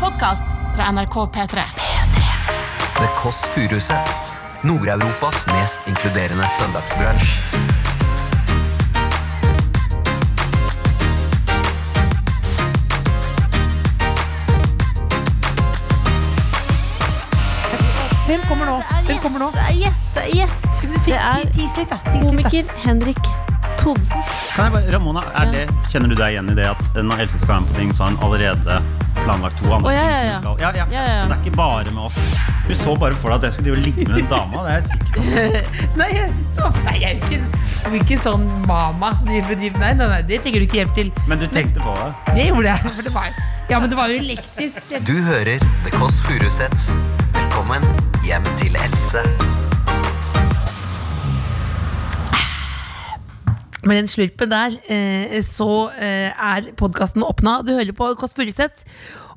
podkast fra NRK P3. The Kåss Furuseths. Nord-Europas mest inkluderende søndagsbransj. Hvem kommer nå? Hvem kommer nå? Gjest, gjest. Det er Tis litt, da. Tis litt, da. komiker Henrik Thodesen. Kan jeg bare, Ramona, er det, kjenner du deg igjen i det at eh, når Else skal være med på ting, så har hun allerede planlagt to andre Å, ja, ja, ja. ting som hun skal ja, Ja, ja. ja, ja. Så det er ikke bare med oss. Du så bare for deg at jeg skulle drive og ligge med den dama. Det er jeg sikker på. Nei, jeg- så, nei, jeg er jo ikke, jeg er ikke sånn mama som driver og driver. Nei, nei, nei, det trenger du ikke hjelp til. Men du tenkte på det. Det gjorde jeg. For det var, ja, men det var jo elektrisk. Det- Du hører The Kåss Furuseths. Velkommen hjem til Else. Med den slurpen der, eh, så eh, er podkasten åpna. Du hører på Kåss Furuseth.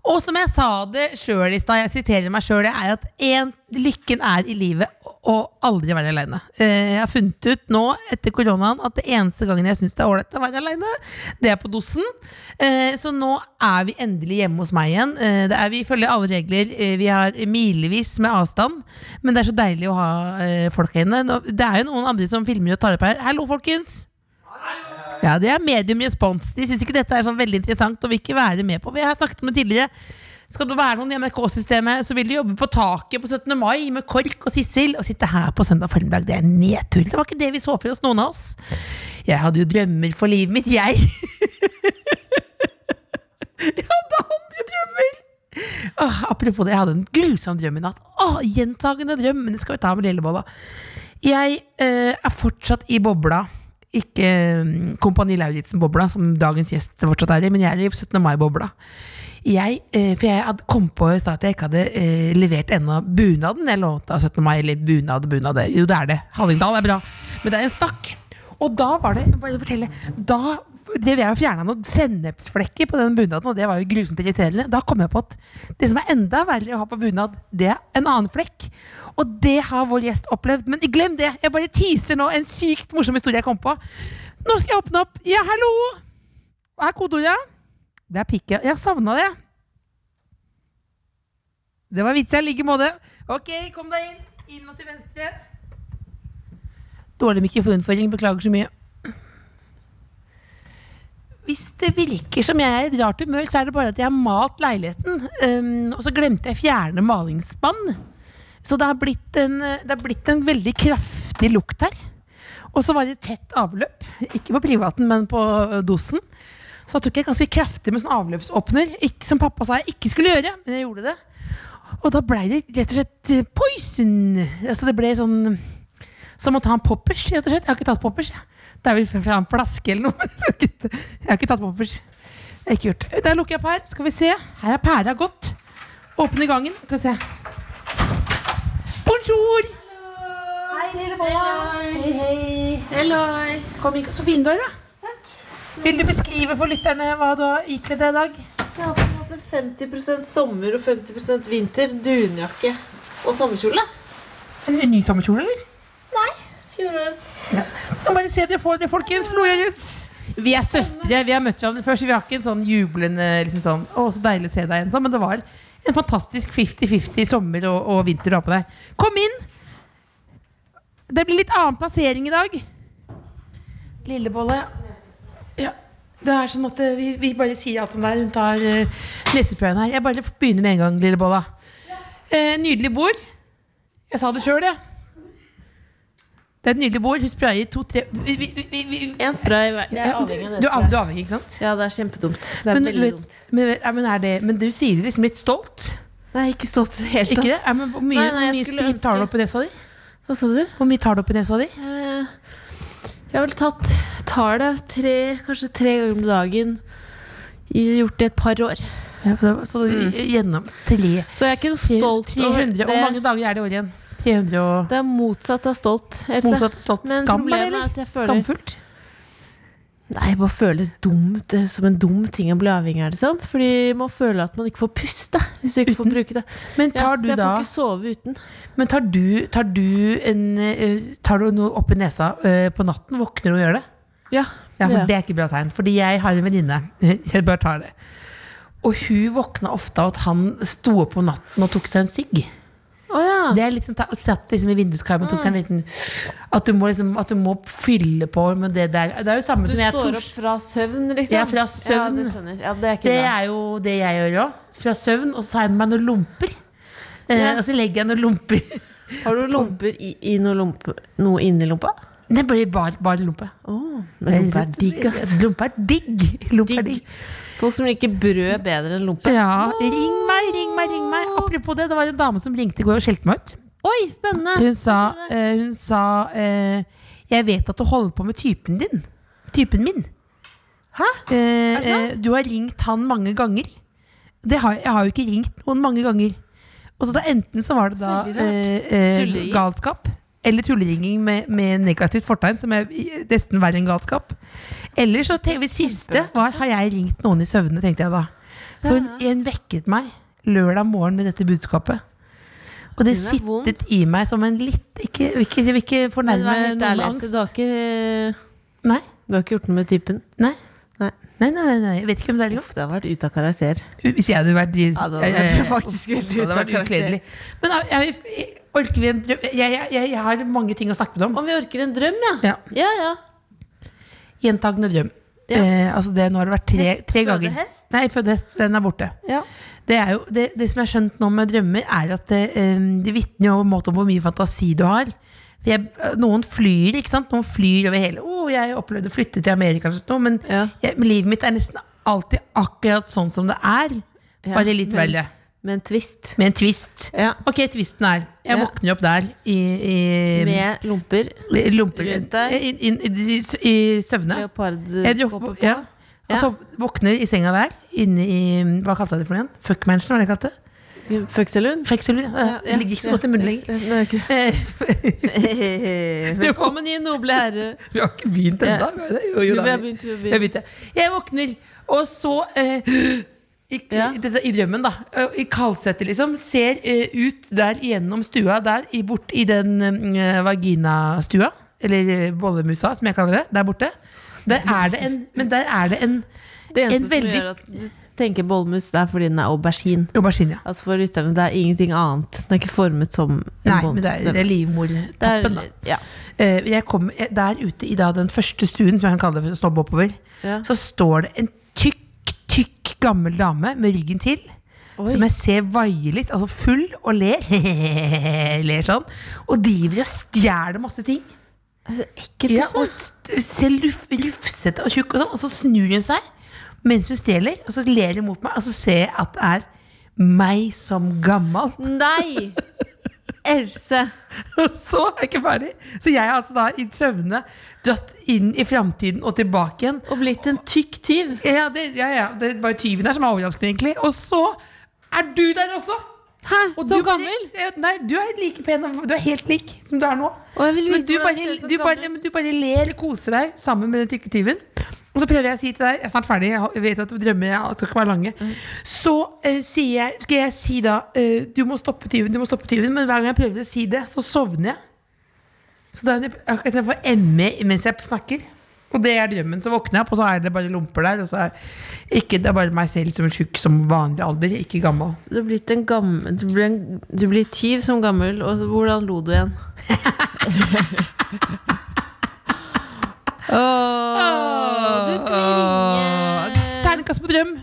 Og som jeg sa det sjøl i stad, jeg siterer meg sjøl, det er at en, lykken er i livet å aldri være aleine. Eh, jeg har funnet ut nå etter koronaen at det eneste gangen jeg syns det er ålreit å være aleine, det er på dosen. Eh, så nå er vi endelig hjemme hos meg igjen. Eh, det er, vi følger alle regler. Eh, vi har milevis med avstand. Men det er så deilig å ha eh, folk her inne. Nå- Det er jo noen andre som filmer og tar opp her. Hallo, folkens! Ja, det er medium respons. De syns ikke dette er sånn veldig interessant og vil ikke være med på. Vi har snakket om det tidligere. Skal du være noen i MRK-systemet, så vil du jobbe på taket på 17. mai med KORK og Sissel og sitte her på søndag formiddag. Det er nedtur. Det var ikke det vi så for oss, noen av oss. Jeg hadde jo drømmer for livet mitt, jeg. jeg hadde andre drømmer. Åh, apropos det, jeg hadde en grusom drøm i natt. Åh, Gjentagende drøm, men det skal vi ta med lillebolla. Jeg eh, er fortsatt i bobla. Ikke eh, Kompani Lauritzen-bobla, som dagens gjest fortsatt er i, men jeg er i 17. mai-bobla. Jeg, eh, for jeg hadde kom på i stad at jeg ikke hadde eh, levert ennå bunaden jeg lovte av 17. mai. Eller bunad, bunad. det- Jo, det er det. Hallingdal er bra. Men det er en stakk. Og da var det bare fortelle, Da drev jeg og fjerna noen sennepsflekker på den bunaden, og det var jo grusomt irriterende. Da kom jeg på at det som er enda verre å ha på bunad, det er en annen flekk. Og det har vår gjest opplevd. Men glem det. Jeg bare teaser nå en sykt morsom historie jeg kom på. Nå skal jeg åpne opp. Ja, hallo! Hva er kodeordet? Det er pikk. ja. Jeg savna det. Det var vitsa i like måte. Ok, kom deg inn. Inn og til venstre. Dårlig mikrofonføring, beklager så mye. Hvis det virker som jeg er i et rart humør, så er det bare at jeg har malt leiligheten. Um, og så glemte jeg å fjerne malingsspann. Så det har blitt en, eh, det har blitt en veldig kraftig lukt her. Og så var det tett avløp. Ikke på privaten, men på eh, dosen. Så da tok jeg ganske kraftig med sånn avløpsåpner, ikke, som pappa sa jeg ikke skulle gjøre. Men jeg gjorde det. Og da blei det rett og slett eh, poison. Altså det ble sånn som å ta en poppers, rett og slett. Jeg har ikke tatt poppers. jeg. Det er vel fra en flaske eller noe. Jeg har ikke- Jeg har ikke tatt poppers. Det har jeg ikke gjort. Der lukker jeg opp her. Skal vi se. Her er pæra godt. Åpne gangen. Skal vi se. Bonjour! Hei, lille Hei, hei. Helloi. Kom inn. Så fin du er, da. Takk. Vil du beskrive for lytterne hva du har ikledd deg i dag? Jeg har på en måte 50 sommer og 50 vinter. Dunjakke og sommerkjole. En ny tommelkjole, eller? Fjorårets. Nå bare se dere får det, folkens. Florens. Vi er søstre. Vi har møtt hverandre før, så vi har ikke en sånn jublende liksom sånn, Å, så deilig å se deg igjen. sånn, Men det var en fantastisk 50-50 sommer og, og vinter du har på deg. Kom inn. Det blir litt annen plassering i dag. Lillebolle. Ja. Det er sånn at eh, vi, vi bare sier alt som det er. Hun tar uh, nesesprayen her. Jeg bare begynner med en gang, Lillebolla. Eh, nydelig bord. Jeg sa det sjøl, jeg. Det er et nydelig bord. Hun sprayer to-tre vi, vi, vi, vi, vi. Én spray hver. Jeg er Ja, du, avhengig av du, det. er av- du er avhengig, ikke sant? Ja, det er kjempedumt. Det er Men, veldig vet- dumt. men, ja, men, er det, men du sier det liksom litt stolt? Nei, ikke stått i det hele Ikke tatt. det? Ja, men hvor mye, Nei, nei, jeg hvor mye skulle sprit tar du ønske- opp i nesa di? Hva sa du? Hvor mye tar du opp i nesa di? Eh, Jeg har vel tatt tar det tre, kanskje tre ganger om dagen. Jeg har Gjort det et par år. Ja, for det- Mm. Så gjennom tre Så jeg er ikke noe stolt over 300, Hvor mange det. dager er det i året igjen? 300 og Det er motsatt av stolt. Else. Motsatt stolt Men skam, problemet eller? er at jeg føler- Skamfullt? Nei, bare føles dumt eh, som en dum ting å bli avhengig av, liksom. Fordi man føler at man ikke får puste hvis du ikke får bruke det. Men Ja, tar så du jeg da får ikke sove uten. Men tar du, tar du, en, eh, tar du noe oppi nesa eh, på natten? Våkner du og gjør det? Ja, Ja, for det Det er ikke bra tegn. Fordi jeg har en venninne Jeg bare tar det Og hun våkna ofte av at han sto opp om natten og tok seg en sigg. Å ja. Mm. Det er litt sånn, ta- Satt liksom i vinduskarmen og tok seg en liten At du må, liksom, at du må fylle på med det der. Det er jo samme Du som jeg står tors- opp fra søvn, liksom? Ja, fra søvn. Ja, det skjønner. Ja, det er ikke Det bra. er jo det jeg gjør òg. Fra søvn, og så tar jeg med meg noen lomper. Eh, Ja. Og så legger jeg noen lomper. Har du lomper i, i noe, lompe, noe inni lompa? Det blir bare, bare lompe. Oh, lompa er digg, ass. Lompe er digg. Lompe er digg. Folk som liker brød bedre enn lompe. Ja, ring meg, ring meg, ring meg. Apropos det, det var en dame som ringte i går og skjelte meg ut. Oi, spennende! Hun sa, eh, hun sa eh, Jeg vet at du holder på med typen din. Typen min. Hæ? Eh, eh, du har ringt han mange ganger. Det har, jeg har jo ikke ringt noen mange ganger. Og så da Enten så var det da Veldig rart. eh, eh, Tulleringing. galskap, eller tulleringing med, med negativt fortegn, som er i- nesten verre enn galskap. Eller så te- det siste var har jeg ringt noen i søvne, tenkte jeg da. For hun, hun vekket meg lørdag morgen med dette budskapet. Og det Den er vond. sittet i meg som en litt Ikke, ikke, ikke Men fornærme vær helt noen ærlig, med angst. Else, du har ikke Nei, Du har ikke gjort noe med typen? nei. Nei. Nei, nei, nei, nei, jeg vet ikke hvem det er engang. Uff, det har vært ute av karakter. Hvis jeg hadde vært de- Ja, det hadde jeg- jeg- vært faktisk veldig det hadde ut av vært karakter. ukledelig. Men da, jeg, jeg, orker vi en drøm? Jeg, jeg, jeg, jeg har mange ting å snakke med om. Om vi orker en drøm, ja. Ja. ja, ja. Gjentagende drøm. Ja. Eh, altså det, nå har det vært tre, Hest, tre ganger. fødehest? Nei, fødehest. Den er borte. Ja. Det, er jo, det, det som jeg har skjønt nå med drømmer, er at det, em, det vitner jo om en måte om hvor mye fantasi du har. For jeg, eh, noen flyr, ikke sant? Noen flyr over hele Å, jeg opplevde å flytte til Amerika, eller noe, men Ja. jeg, men livet mitt er nesten alltid akkurat sånn som det er. Ja, Bare litt men- verre. Med en twist. Med en twist. Ja. Ok, twisten er Jeg Ja. våkner opp der i, i Med lomper. lomper rundt deg. I, i, i, i søvne. Jeg Leopardkåpe jobber, på. ja. Og så våkner i senga der, inne i Hva kalte jeg det for noe igjen? Fuckmansion, var det jeg kalte det? Føkselund. Fleksibel, ja. Det ligger ikke så godt i munnen lenger. Eh, Velkommen i noble herre. Vi har ikke begynt ennå. Ja. vi har det. Jo, jo, Jo, da, vi har vi- begynt, vi har vi har begynt, ja. Jeg våkner, og så eh, i, Ja. dette, I drømmen, da. eh, I kaldsettet, liksom. Ser eh, ut der gjennom stua, der i, bort i den eh, vaginastua. Eller eh, bollemusa, som jeg kaller det. Der borte. Der er det en, men der er det en Det eneste En veldig- som gjør at du tenker bollemus, det er fordi den er aubergine. aubergine. Ja. Altså for lytterne, det er ingenting annet. Den er ikke formet som en Nei, bollemus. men det er, det er Det er- livmortappen, da. Ja. Eh, jeg kom, jeg, der ute i da, den første stuen, som jeg kan kalle det for å snobbe oppover, Ja. så står det en tykk, tykk gammel dame med ryggen til. Oi. Som jeg ser vaier litt, altså full, og ler. ler sånn. Og driver og stjeler masse ting. Altså, ekkelt, Ja, altså. og st- ser luf, rufsete og tjukk og sånn. Og så snur hun seg mens hun stjeler, og så ler hun mot meg, og så ser jeg at det er meg som gammel. Nei! Else! Så er jeg ikke ferdig. Så jeg har altså da i søvne dratt inn i framtiden og tilbake igjen. Og blitt en tykk tyv. Ja, det, ja, ja, det er bare tyven her som er overraskende, egentlig. Og så er du der også! Hæ? Og Så du, gammel? Ja, Nei, du er like pen og- Du er helt lik som du er nå. Og jeg vil vite Men du hvordan bare, jeg ser ut som du, bare, gammel. men du bare ler og koser deg sammen med den tykke tyven. Og så prøver jeg å si til deg Jeg er snart ferdig, jeg vet at drømmer jeg skal ikke være lange. Mm. Så eh, sier jeg, skal jeg si da eh, Du må stoppe tyven, du må stoppe tyven. Men hver gang jeg prøver å si det, så sovner jeg. Så da er det akkurat jeg får ME mens jeg snakker. Og det er drømmen. Så våkner jeg opp, og så er det bare lomper der. Og så er ikke, det er bare meg selv som er tjukk som vanlig alder, ikke gammel. Så Du, er blitt en gammel, du, blir en, du blir tyv som gammel, og så- hvordan lo du igjen? Åh, du skal vi ringe Terningkast på drøm.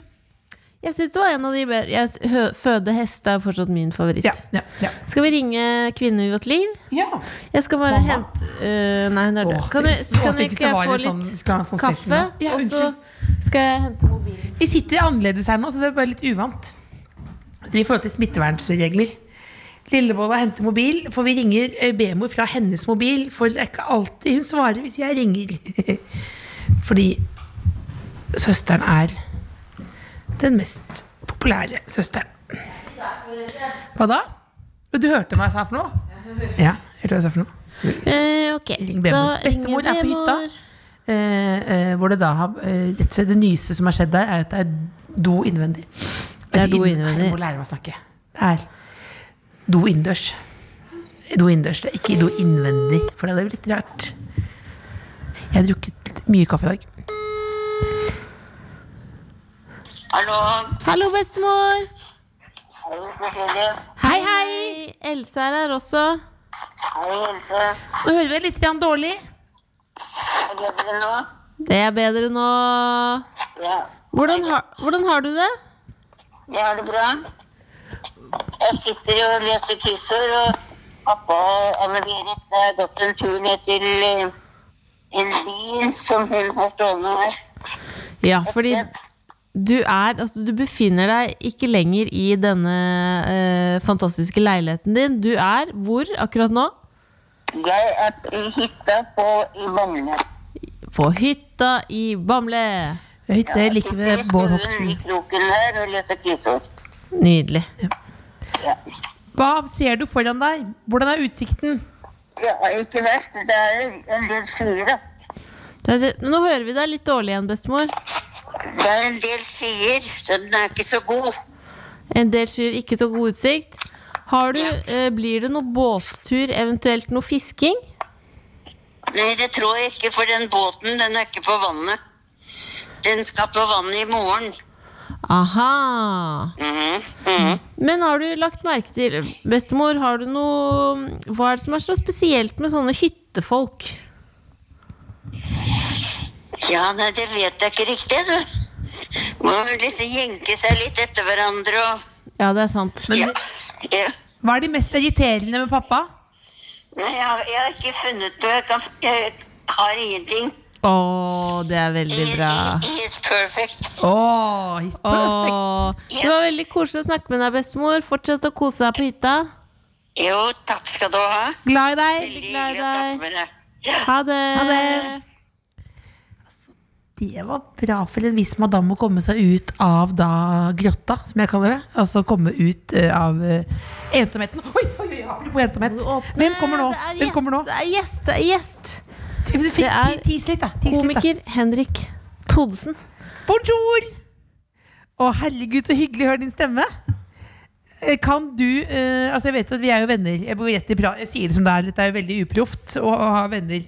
Jeg syns det var en av de bedre. Jeg, s- hø- føde hest er fortsatt min favoritt. Ja, ja, ja. Skal vi ringe kvinnen i vårt liv? ja. Jeg skal bare Mamma. hente øh, Nei, hun er død. Åh, Kan, det- jeg- åh, kan tenk jeg hvis ikke det var få en sånn- litt skulle ha en sånn session kaffe? da. Ja, og så unnskyld. skal jeg hente mobilen. Vi sitter annerledes her nå, så det er bare litt uvant. I forhold til smittevernsregler. Lillebolla henter mobil, for vi ringer eh, Bemor fra hennes mobil. For det er ikke alltid hun svarer hvis jeg ringer. Fordi søsteren er den mest populære søsteren. Hva da? Jo, Du hørte hva jeg sa for noe? Ja, hørte du hva jeg sa for noe? Eh, ok, Ring da Bemor. Bestemor ringer er på hytta. Bemor. Eh, eh, hvor det da har eh, rett og slett Det nyeste som har skjedd der, er at det er do innvendig. Det er do inn- innvendig. Jeg må lære meg å snakke. Det er do innendørs. Do innendørs, det er ikke do innvendig, for det hadde blitt rart. Jeg har drukket mye kaffe i dag. Hallo. Hallo, bestemor! Hei, Cecilie. Hei, hei! Hei! Else er her også. Hei, Else. Nå hører vi litt grann dårlig. Er det dere nå? Det er bedre nå. Ja. Hvordan har, hvordan har du det? Jeg har det bra. Jeg sitter og leser kryssord, og pappa og Anne-Berit har gått en tur ned til eh, en bil som hun har stående her. Ja, fordi du er Altså, du befinner deg ikke lenger i denne eh, fantastiske leiligheten din. Du er hvor akkurat nå? Jeg er i hytta på i Vagne. På hytta i Bamble. Hytte like ved Bård stuen i Hoksrud. kroken her og leser kryssord. Nydelig. Ja. Hva ser du foran deg? Hvordan er utsikten? ja, ikke verst. Det er en del skyer, da. Det er det. men Nå hører vi deg litt dårlig igjen, bestemor. Det er en del skyer, så den er ikke så god. En del skyer, ikke så god utsikt. Har du, eh, blir det noe båttur, eventuelt noe fisking? Nei, det tror jeg ikke, for den båten den er ikke på vannet. Den skal på vannet i morgen. Aha. Mhm, mhm. Men har du lagt merke til Bestemor, har du noe Hva er det som er så spesielt med sånne hyttefolk? Ja, nei, det vet jeg ikke riktig, du. Må vel liksom jenke seg litt etter hverandre og Ja, det er sant. ja. ja. Hva er de mest irriterende med pappa? Nei, jeg, har- jeg har ikke funnet noe. Jeg, kan, jeg har ingenting. Å, det er veldig He, bra. he, he is perfect. Åh, he's perfect. Å, det var veldig koselig å snakke med deg, bestemor. Fortsett å kose deg på hytta. Jo, takk skal du ha. Glad i deg. Veldig glad i hyggelig å snakke deg. med deg. Ha det. det. Det var bra for en viss madame å komme seg ut av da grotta, som jeg kaller det. Altså komme ut eh, av eh, ensomheten. Oi, oi, oi, apropos ensomhet. Hvem kommer nå? Det er Hvem gjest, kommer nå? Det er gjest, det er gjest. Du fikk er ti- tis litt, da. Tis litt, da. Komiker Henrik Todesen. Bonjour! Å, herregud, så hyggelig å høre din stemme. Eh, Kan du eh, Altså, jeg vet at vi er jo venner. Jeg, bor rett i pra jeg sier det som det er. Dette er jo veldig uproft å, å ha venner.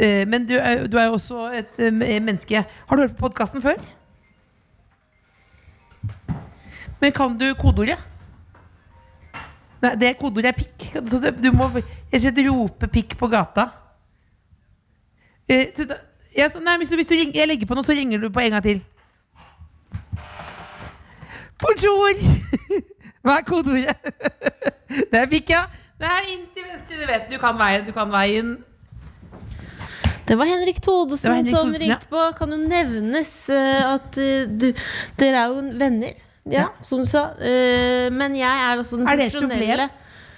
Eh, men du er, du er jo også et eh, menneske. Har du hørt på podkasten før? Men kan du kodeordet? Nei, det kodeordet er pikk. Så det, du må Jeg skal rope pikk på gata. Eh, så da, ja, så, nei, hvis du, hvis du ringer, jeg legger på nå, så ringer du på en gang til. Bonjour! Hva er kodeordet? Der fikk jeg. Det er inn til venstre, du vet. Du kan veien, du kan veien. Det var Henrik Todesen Det var Henrik som Thodesen, ja. ringte på. Kan jo nevnes eh, at eh, du Dere er jo venner, ja, som du sa. Eh, men jeg er altså den Er det et problem? profesjonelle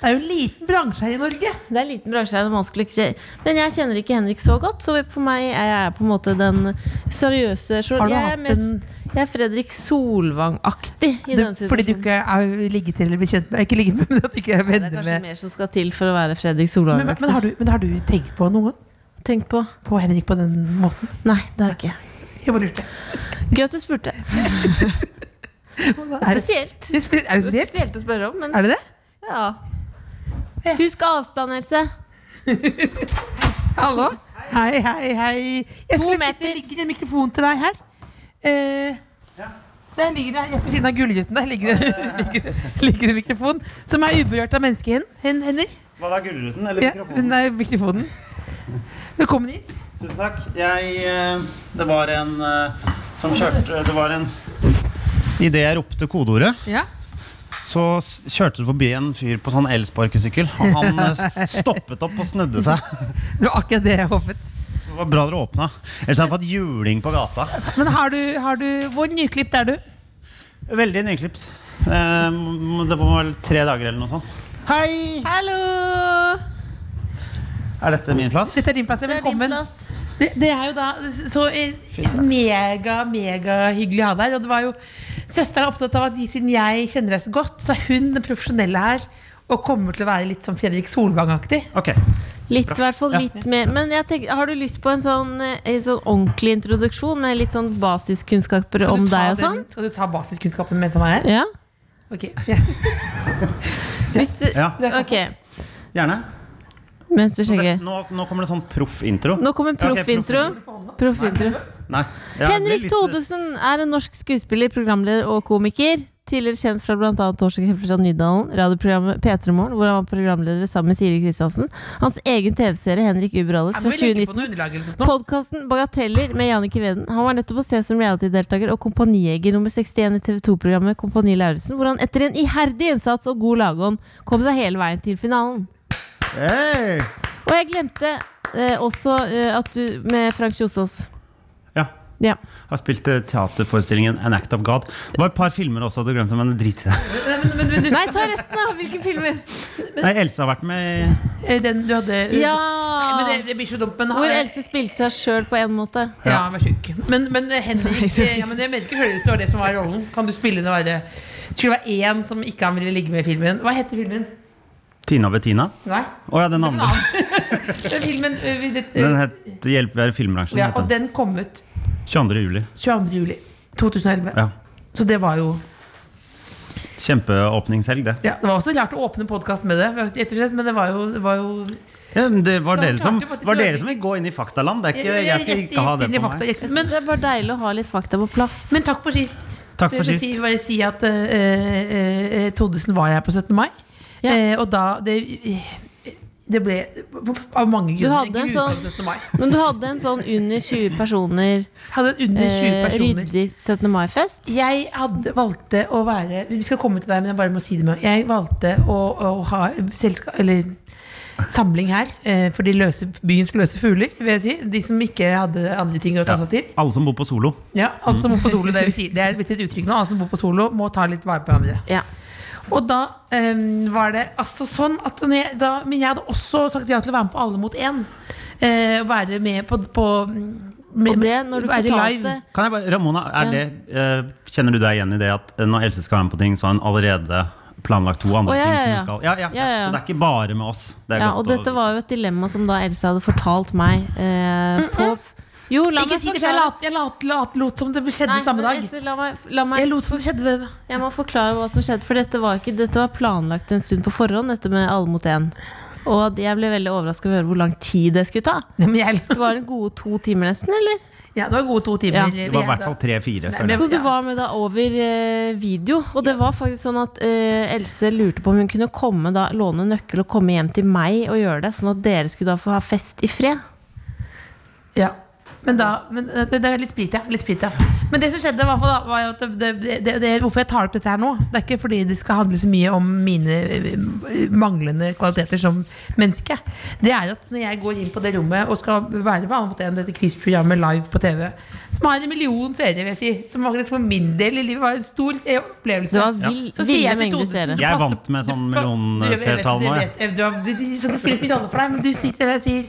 Det er jo en liten bransje her i Norge. Det er en liten bransje her, det er vanskelig å ikke- Men jeg kjenner ikke Henrik så godt, så for meg er jeg på en måte den seriøse Har journal- du Jeg er hatt mest en- jeg er Fredrik Solvang-aktig i Du, denne situasjonen. fordi du ikke er ligget til eller blitt kjent med Ikke ligget med, men at du ikke er Det venner er kanskje med mer som skal til for å være Fredrik men, Solvang-aktig. men, har du, men har du tenkt på noe? Tenk på På Henrik på den måten? Nei, det har jeg ikke. Jeg bare lurte. Gøy at du spurte. Er det, er Spesielt. det spesielt? Spesielt å spørre om, men Er det det? Ja. Husk avstand, Else. Hallo. Hei, hei, hei. Jeg skulle, meter. det ligger en mikrofon til deg her. Eh, Der ligger det rett ved siden av Gullgutten. Der ligger det, ligger, det- ligger det en mikrofon som er uberørt av menneskehender. Hva var Gullruten eller Ja, den er mikrofonen. Velkommen hit. Tusen takk. Jeg eh, Det var en eh, som kjørte Det var en Idet jeg ropte kodeordet, Ja. så s- kjørte det forbi en fyr på sånn elsparkesykkel. Og han eh, s- stoppet opp og snudde seg. Det var akkurat det jeg håpet. Det var bra dere åpna. Ellers hadde jeg fått juling på gata. Men har du, har du Hvor nyklipt er du? Veldig nyklipt. Eh, m- Det var vel tre dager eller noe sånt. Hei! Hallo! Er dette min plass? Dette er din plass. Det er din Velkommen. plass. Det, det er jo da så eh, mega, mega hyggelig å ha deg her. Og det var jo Søsteren er opptatt av at de- siden jeg kjenner deg så godt, så er hun den profesjonelle her. Og kommer til å være litt sånn Fredrik Solvang-aktig. Ok. Litt, i hvert fall Ja. litt mer. Men jeg tenker, har du lyst på en sånn, eh, en sånn ordentlig introduksjon med litt sånn Skal basiskunnskaper du om ta deg og den- sånn? Skal du ta basiskunnskapen mens han er her? Ja? Ok. Ja. Hvis du, Ja, ok. gjerne. mens du Det, sjekker. nå, nå kommer det sånn proff-intro. Nå kommer Ja, ok, proffintro. Proffintro. Nei, ja, det er Henrik litt- Thodesen er en norsk skuespiller, programleder og komiker. Tidligere kjent fra bl.a. Torsdag kveld fra Nydalen, radioprogrammet P3 Morgen, hvor han var programleder sammen med Siri Kristiansen. Hans egen TV-serie Henrik Uberales Jeg fra må vi legge 2019. på noe liksom. underlag eller sånt nå? Podkasten Bagateller med Jannicke Weden. Han var nettopp å se som reality-deltaker og kompanijeger nummer 61 i TV 2-programmet Kompani Lauritzen, hvor han etter en iherdig innsats og god lagånd kom seg hele veien til finalen. Hey! Og jeg glemte eh, også eh, at du Med Frank Kjosås. Ja. Ja. Har spilt eh, teaterforestillingen An Act of God. Det var et par filmer også, du glemte, men drit i det. Men, men, men, du- Nei, ta resten, da! Hvilke filmer? Nei, Else har vært med i- eh, den du hadde Ja! Nei, men det, det blir så dumt, men Hvor Else spilte seg sjøl på en måte. Ja, han var tjukk. Men, men Henrik eh, ja, men Jeg mener ikke selv om det var det som var rollen. Kan du spille det være Det skulle være én som ikke han ville ligge med i filmen. Hva heter filmen? Tina og Bettina. Nei? Å ja, den En andre. annen. Den filmen eh, vi- det- Den het Hjelp, vi er i filmbransjen. ja, het Og den. den kom ut 22. juli. 22. juli 2011. Ja. Så det var jo Kjempeåpningshelg, det. ja, Det var også rart å åpne podkast med det, rett og slett, men det var jo, det var jo Ja, men det var Ja, dere klart, som, det var- var dere som vil gå inn i faktaland. Det er ikke, jeg skal ikke ha det Rett inn i på fakta, meg. rett- Men det er bare deilig å ha litt fakta på plass. Men takk for sist. Takk for Jeg vil sist. Si, bare si at eh, eh, Todesen var her på 17. mai, Ja. Eh, og da det, det ble av mange Du grunner hadde en grusom sånn- 17. mai. Men du hadde en sånn under 20 personer, Hadde en under 20 eh, personer. ryddig 17. mai-fest. Jeg hadde valgte å være Vi skal komme til deg, men jeg bare må si det med Jeg valgte å, å ha selskap Eller samling her eh, for de løse, byens løse fugler, vil jeg si. De som ikke hadde andre ting å ta seg til. Alle som bor på Solo. Ja, alle som bor på solo, det, vil si, det er blitt et uttrykk nå. Alle som bor på solo, må ta litt vare på hverandre. Ja. Og da em, var det altså sånn at når jeg, da, Men jeg hadde også sagt ja til å være med på Alle mot én. Eh, være med på, på med, Og det, når du være fortalte Kan jeg bare, Ramona, Ja. er det, eh, kjenner du deg igjen i det at eh, når Else skal være med på ting, så har hun allerede planlagt to andre Å, ja, ting? ja, som ja. hun skal ja, ja, Ja, ja, ja. Så det er ikke bare med oss. Det er Ja, godt og dette å- var jo et dilemma som da Else hadde fortalt meg eh, på f- Jo, la Mm, Ikke meg si det, for jeg forklare. lot, jeg lot, lot, lot som det skjedde Nei, samme men dag. Else, la meg, la meg Jeg lot som det skjedde det. Jeg må forklare hva som skjedde, for dette var, ikke, dette var planlagt en stund på forhånd, dette med Alle mot én. Og at jeg ble veldig overraska over å høre hvor lang tid det skulle ta. Nei, men jeg, Det var en gode to timer nesten, eller? ja, det var gode to timer. Ja. Det var i hvert fall tre-fire. men- Så du Ja. var med da over eh, video. Og det var faktisk sånn at eh, Else lurte på om hun kunne komme da, låne nøkkel og komme hjem til meg og gjøre det, sånn at dere skulle da få ha fest i fred. Ja. Men da, men eh, det, det er litt sprit, ja. Litt sprit, ja. Men det som skjedde, i hvert fall da, var jo at det, det, det, det, hvorfor jeg tar opp dette her nå, det er ikke fordi det skal handle så mye om mine eh, manglende kvaliteter som menneske. Det er at når jeg går inn på det rommet og skal være med annet enn dette quizprogrammet live på TV, som har en million seere, vil jeg si, som faktisk for min del i livet var en stor eh, opplevelse. Det var vill, Så sier ville jeg til mengder Todesen seere. du Jeg er passer- vant med sånn du- millionseertall du nå, vet- Eh, du vet- du har- du- du- Så det spiller ikke rolle for deg, men du sitter der og sier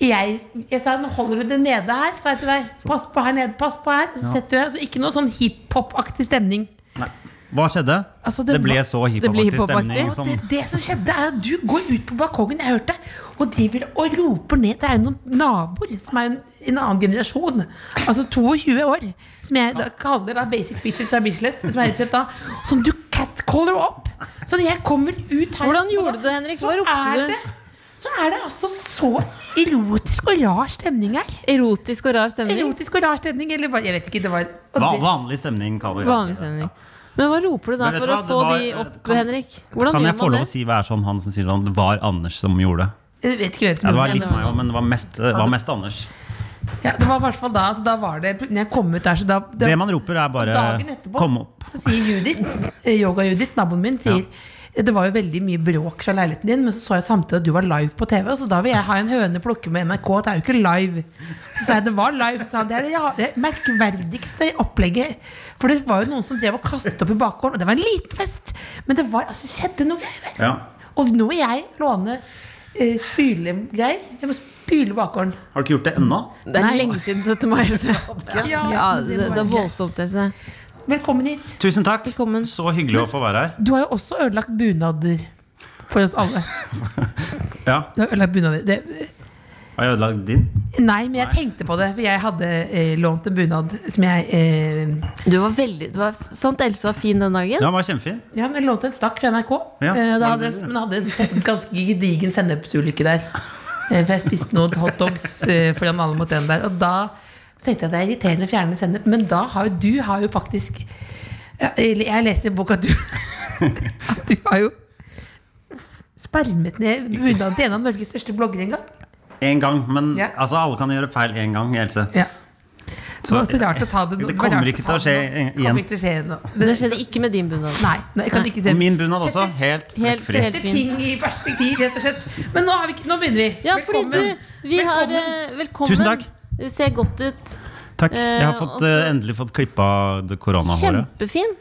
jeg, jeg sa, nå holder du det nede her, sa jeg til deg. Pass på her nede, pass på her. Så setter du deg, så ikke noe sånn hiphop-aktig stemning. Nei. Hva skjedde? Altså, det, det ble var- så det ble hiphop-aktig hiphop-aktig. stemning. liksom. Og det, Som, det som skjedde, er at du går ut på balkongen, jeg hørte, og driver og roper ned. Det er jo noen naboer som er en, en annen generasjon, altså 22 år, som jeg da kaller da basic bitches fra Bislett, som er rett og slett da, som du catcaller opp. Så når jeg kommer ut her Hvordan gjorde du det, Henrik? så Hva ropte er du? det- Så er det altså så erotisk og rar stemning her. Erotisk og rar stemning. Erotisk og rar stemning, eller hva- jeg vet ikke, det var og va det- vanlig stemning, kaller vi det. Vanlig stemning. Men hva roper du da Men vet for du å hva, det få var- eh, de opp, kan- Henrik? Hvordan Kan gjør jeg få man lov det? å si hva er sånn han som sier sånn Det var Anders som gjorde det. Jeg vet ikke hvem som Ja, det gjorde var litt meg òg, men det var mest, det var mest Anders. Ja, det var i hvert fall da, så da var det Når jeg kom ut der, så da Det man roper, er bare Dagen etterpå 'kom opp'. så sier Judith, eh, yoga-Judith, naboen min, sier Det var jo veldig mye bråk fra leiligheten din, men så så jeg samtidig at du var live på TV, så da vil jeg ha en høne plukke med NRK. Det er jo ikke live. Så sa jeg det var live. Så sa han, det er det, ja, det merkverdigste opplegget. For det var jo noen som drev og kastet opp i bakgården, og det var en liten fest. Men det var, altså, skjedde noe greier der. Ja. Og nå må jeg låne eh, spylegreier. Jeg må spyle bakgården. Har du ikke gjort det ennå? Det er lenge siden 17. mai. Så. Ja, Ja, det, det det var er greit. voldsomt. Else. Velkommen hit. Tusen takk. Velkommen. Så hyggelig å få være her. Du har jo også ødelagt bunader for oss alle. Ja. Du har ødelagt bunader. Det, Har jeg ødelagt din? Nei, men jeg tenkte på det, for jeg hadde eh, lånt en bunad som jeg eh, Du var veldig du var, Sant Else var fin den dagen? Ja, den var kjempefin. Ja, men jeg lånte en stakk fra NRK. Ja, eh, da var hadde det jeg, det? men hadde en sen- ganske gedigen sennepsulykke der. Eh, for jeg spiste noen hotdogs eh, foran alle mot en der. Og da så tenkte jeg det er irriterende å fjerne sennep, men da har jo du har jo faktisk ja, eller Jeg leser i boka at du, at du har jo spermet ned bunaden til en av Norges største bloggere en gang. Én gang. Men Ja. altså, alle kan gjøre feil én gang, Else. Ja. Det var også rart å ta det Det var rart kommer ikke ta til å skje det nå. igjen. Kommer ikke til å skje nå. Men det skjedde ikke med din bunad. Nei, nei, jeg kan ikke se Og min bunad også. Sette- Helt Helt- fri. helt- Sette ting i perspektiv, rett og slett. Men nå, har vi, ikke- nå begynner vi. Ja, fordi du Vi har eh, Velkommen. Tusen takk. Du ser godt ut. Takk. Jeg har Eh, fått, også- eh, endelig fått klippa det koronahåret. Kjempefin.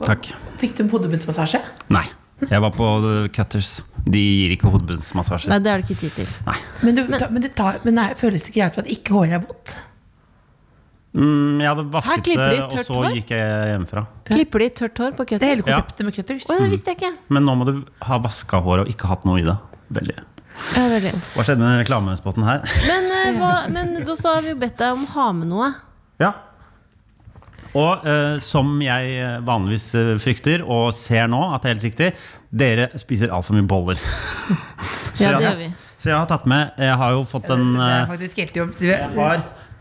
Takk. Fikk du en hodebunnsmassasje? Nei. Jeg var på eh, Cutters. De gir ikke hodebunnsmassasje. Nei, det har du ikke tid til. Men, du, ta, men, det tar, men nei, føles det ikke hjelp at ikke håret er vått? Mm, jeg hadde Her vasket klipper det, de og tørt så hår. gikk jeg hjemmefra. Klipper de tørt hår på Det er cutters? hele Ja. konseptet med cutters. Å, ja, det visste jeg ikke. Men nå må du ha vaska håret og ikke hatt noe i det. Veldig. Ja, veldig. Hva skjedde med den reklamespotten her? Men, eh, hva, men da så har vi jo bedt deg om å ha med noe. Ja. Og eh, som jeg eh, vanligvis eh, frykter, og ser nå at det er helt riktig, dere spiser altfor mye boller. Så Ja, det jeg- gjør vi. Så jeg har tatt med Jeg har jo fått en Det er eh, faktisk helt jobb. Du, er- jeg har,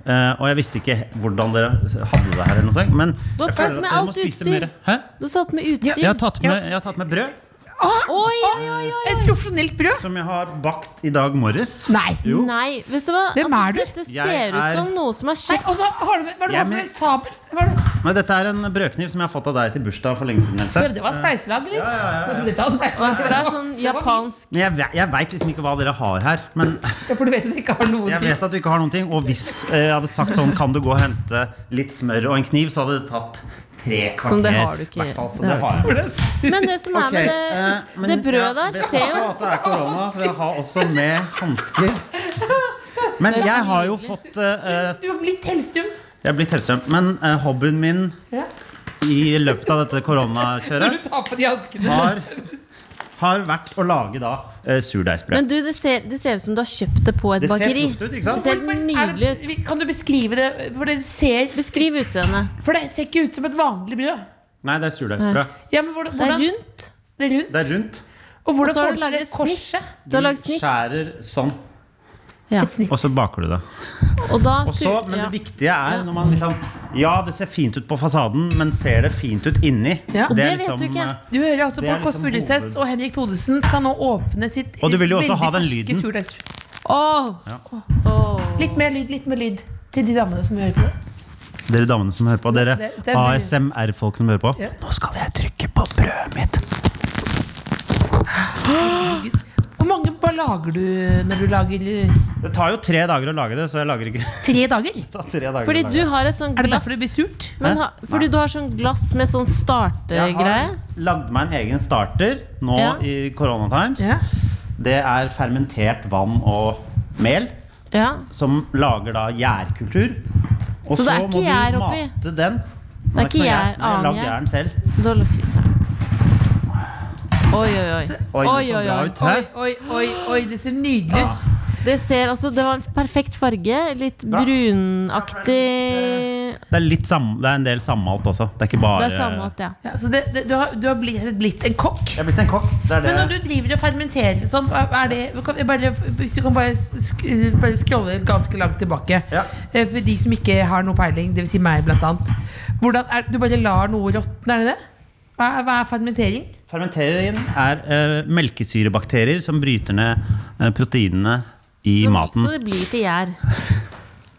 eh, og jeg visste ikke hvordan dere hadde det her. Eller noe, sånt, men Du har tatt jeg føler at med dere må alt spise utstyr. mer. Hæ? Du har tatt med utstyr. Jeg har, tatt med, jeg har tatt med brød, Oi, oi, oi, oi. Et profesjonelt brød? som jeg har bakt i dag morges. Nei. Jo. Nei, vet du hva? Altså, Hvem er du? Dette Jeg ser ut er- som noe som er nei kjøpt. og så har du med, Hva er det du Jeg har for men- en sabel? Hva er det? Nei, dette er en brødkniv som jeg har fått av deg til bursdag for lenge siden. Else. Det var spleiselag, eller? Ja, ja, ja, ja. Jeg tror dette var spleiselag, For det er sånn det var fint. japansk Men jeg, ve- jeg veit liksom ikke hva dere har her. Men Ja, for du vet at det ikke har noen jeg ting. vet at du ikke har noen ting. Og hvis eh, jeg hadde sagt sånn Kan du gå og hente litt smør og en kniv, så hadde det tatt tre kvarter. Som Sånn, det har du ikke. i hvert fall, så Det det har du har jeg. Men det som er med Eh, det, men det brødet ja, der, ser passer jo at det er korona, så jeg har også med hansker. Men jeg har jo fått eh, eh, Du har blitt Hellstrøm. Jeg er blitt Hellstrøm. Men eh, hobbyen min Ja. i løpet av dette Når koronakjøret du tar på de hanskene. har, har vært å lage da eh, surdeigsbrød. Men du, det ser, det ser ut som du har kjøpt det på et Det ser bakeri. proft ut, ikke sant? Det ser helt Er nydelig ut. det- Kan du beskrive det? For det, ser, Beskriv utseendet. for det ser ikke ut som et vanlig brød. Nei, det er surdeigsbrød. Ja, men hvordan, Det er hvordan, rundt. det er rundt. Det er rundt. Og Og hvordan så får har du du til laget det et korset? snitt. Du har laget Du snitt. skjærer sånn, Ja. Et snitt. og så baker du det. Og da Og så, sur- men ja. det viktige er når man liksom Ja, det ser fint ut på fasaden, men ser det fint ut inni? Ja, og er det vet du ikke. eh, Du hører altså Det på er Kåss liksom Furuseths, hoved- og Henrik Thodesen skal nå åpne sitt Og du vil jo også veldig ha den ferske lyden. surdeigsbrød. Åh! Ja. Åh. Litt mer lyd, litt mer lyd til de damene som hører på. Dere damene som hører på, dere Det- det blir- ASMR-folk som hører på. Ja. Nå skal jeg trykke på brødet mitt. Hvor mange bare lager du når du lager eh, Det tar jo tre dager å lage det, så jeg lager ikke tre det dager? tar tre dager Fordi du å lage det. har et sånn Er det glass derfor det blir surt? men ha, Fordi du har sånn glass med sånn Jeg startegreie. har lagd meg en egen starter nå Ja. i Corona Times. Ja. Det er fermentert vann og mel. Ja. som lager da gjærkultur. Og Så det er ikke gjær oppi? må du mate den. Det er ikke noe gjær, Nei, Jeg har annen lagd gjær. gjæren selv. Da lå fy søren. Oi, oi, oi. Oi, Oi, det så oi, bra oi. ut. Oi, Hæ? Ah. oi, oi, oi, det ser nydelig ut. Det ser altså Det var en perfekt farge. Litt Bra. brunaktig Det er, litt sam, det er en del sammalt også. Det er ikke Det bare er samme at, ja. Ja, så det, det, du har, du har blitt, blitt en kokk. Jeg er blitt en kokk. Det er Men når det. du driver og fermenterer sånn, hva- hva er det kan vi bare, Hvis du kan bare, sk bare scrolle ganske langt tilbake. Ja. Eh, For de som ikke har noe peiling, dvs. Si meg blant annet. Hvordan er, du bare lar noe råtne, er det det? Hva er, hva er fermentering? Fermenteringen er eh, melkesyrebakterier som bryter ned eh, proteinene i Så, maten. så det blir til gjær.